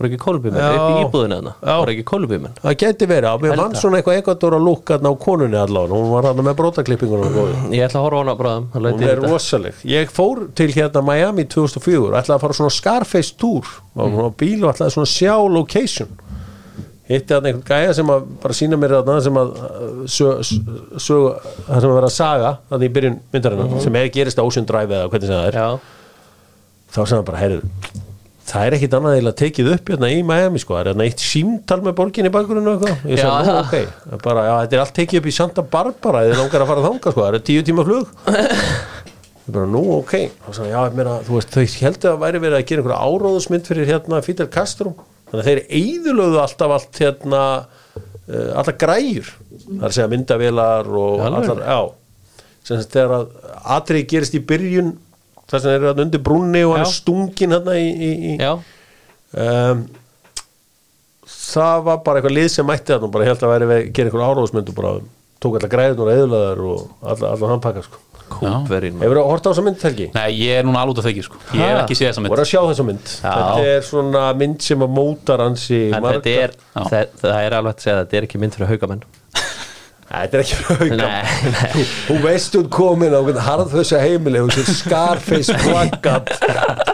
S3: Voru ekki kolumbíumenn,
S1: Já.
S3: upp í íbúðinu hana Voru ekki kolumbíumenn
S1: það geti verið, að mér
S3: Held
S1: mann
S3: það.
S1: svona eitthvað ekvator að lúka á konunni allavega, hún var hann með brotaklippingunum og
S3: Ég ætla að horfa á hana bráðum hann lætur
S1: hún
S3: í
S1: er
S3: þetta.
S1: rosaleg ég fór til hérna Miami 2004 ætlaði að fara á svona Scarface tour og
S3: Mm.
S1: hún var á bíl og ætlaði svona að sjá location hitti hann einhvern gæja sem að bara sína mér þarna sem að uh, sög, sög, það sem að vera að saga þannig í byrjun myndarinnar
S3: Mm.
S1: sem er gerist á Ocean Drive eða hvernig sem það er
S3: Já,
S1: þá sem hann bara, heyrðu það er ekkit annað eiginlega tekið upp hérna í Miami sko, það er hérna eitt símtal með borginni í bakgruninu og eitthvað, ég
S3: Já,
S1: sagði, nú,
S3: það.
S1: ok Það er bara, já, þetta er allt tekið upp í Santa Barbara eða langar að fara þanga, sko, það er tíu tíma flug ég bara, nú, ok þá sagði, hann, já, ég meina, þú veist, þau heldur að væri verið að gera einhverja áróðusmynd fyrir hérna Fidel Castro, þannig að þeir eðulöðu alltaf allt hérna uh, alltaf græjur, það er að segja myndavélar og
S3: Alveg?
S1: allar, já sem þess þegar að atrið gerist í byrjun þess að þeir eru hann undir brúnni og hann
S3: Já.
S1: er stungin hérna í, í, í
S3: já,
S1: um, það var bara eitthvað lið sem mætti þarna og bara held að væri að gera eitthvað áróðsmynd og bara tók allar græðin og eðlaðar og allar, allar hann pakka sko
S3: kúpverinn maður.
S1: Hefur það hort á þessa mynd Helgi?
S2: Nei, ég er núna alveg út af þeggi sko Ég hef
S3: Ha?
S2: ekki séð þessa mynd
S1: Voru að sjá þessa mynd
S3: Já.
S1: Þetta er svona mynd sem að mótar hans í
S3: En
S1: margar-
S3: þetta er,
S2: Já.
S3: það, það er alveg hægt að segja að þetta er ekki mynd fyrir haugamenn
S1: Nei, Þetta er ekki *laughs* fyrir
S3: Nei, nei. *laughs*
S1: Þú- Þú veist hún komin á harðhauðsa heimili og þessi Scarface plakat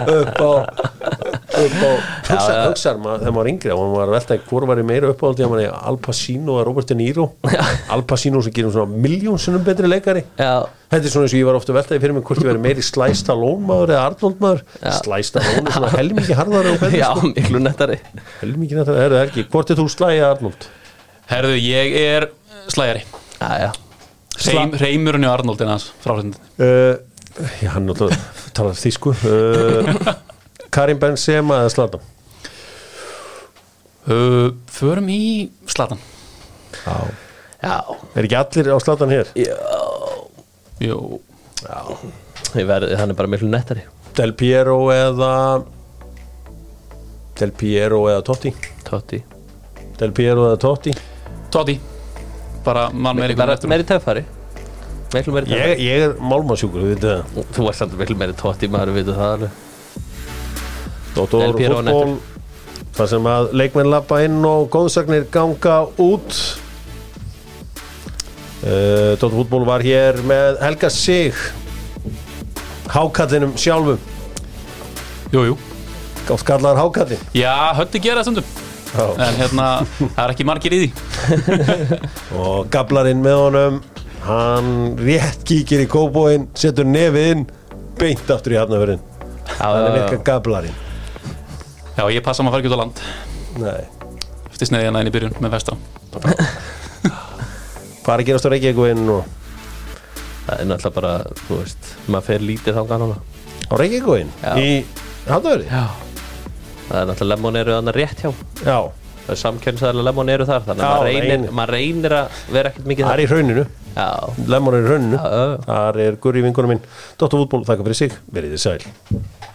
S1: upp á upp á hugsa,
S3: já.
S1: hugsaðar maður þegar maður var yngri og maður var að velta hvort var ég meira uppáhaldi að maður er Al Pacino og Robert De Niro Al Pacino sem gerum svona miljónsunum betri leikari
S3: Já,
S1: Þetta er svona eins og ég var ofta veltaði fyrir mig hvort ég verið meiri Sly Stallone maður eða Arnold maður
S3: Já.
S1: Sly Stallone er svona helmingi harðar og betri sko.
S3: já, miklu nettari
S1: Helmingi nættara, er það ekki, hvort er þú slæði Arnold?
S2: Herðu, ég er slægari
S3: Já, já,
S2: Reim, Reimurinn í Arnoldin hans Frásendin
S1: Uh, já, hann náttúrulega talar þýsku uh, Karim Benzema eða Zlatan
S2: uh, Förum í Slatan
S1: Já
S3: já
S1: Er ekki allir á Zlatan hér?
S2: Jú
S3: Ég verði, hann er bara miklu nettari
S1: Del Piero eða Del Piero eða Totti
S3: Totti
S1: Del Piero eða Totti
S2: Totti Bara mann meir
S3: Bara
S2: eitthvað
S3: Meiri töffari Miklu meiri töffari
S1: Ég, ég er málmasjúkur, þú veit það
S3: Þú ert samt miklu meiri Totti maður, við veitum það alveg
S1: Dóttor
S3: Del Piero á
S1: fútból þar sem að leikmenn lappa inn og góðsagnir ganga út uh, Dóttor fútból var hér með Helga Sig Hákallinum sjálfum
S2: Jú, jú
S1: Gátt kallar hákallin
S2: Já, höndi gera það stundum En hérna, það er ekki margir í því
S1: og gablarinn með honum hann rétt kíkir í kóbóin setur nefið inn beint aftur í hafnafjörðin hann er
S3: Já,
S1: eitthvað gablarinn
S2: Já, ég passa maður að fara ekki út á land
S1: Nei.
S2: Eftir sneiði hérna inn í byrjun með vestra
S1: hvað er að gerast á Reykjavíkvinn og
S3: það er náttúrulega bara, þú veist Maður fer lítið þangað núna
S1: á Reykjavíkvinn
S3: Já.
S1: í hafnafjörði
S3: Já Það er náttúrulega lemonir annar rétt hjá
S1: já
S3: samkjörnsæðarlega lemon eru þar þannig
S1: Já,
S3: að maður
S1: reynir.
S3: reynir, maður reynir að vera ekkert mikið
S1: Það
S3: þar
S1: er í hrauninu,
S3: já,
S1: lemon er í hrauninu
S3: Já, já, já.
S1: Þar er Gurri vingunum minn Dóttar fútból, þakka fyrir sig, verið þið sæl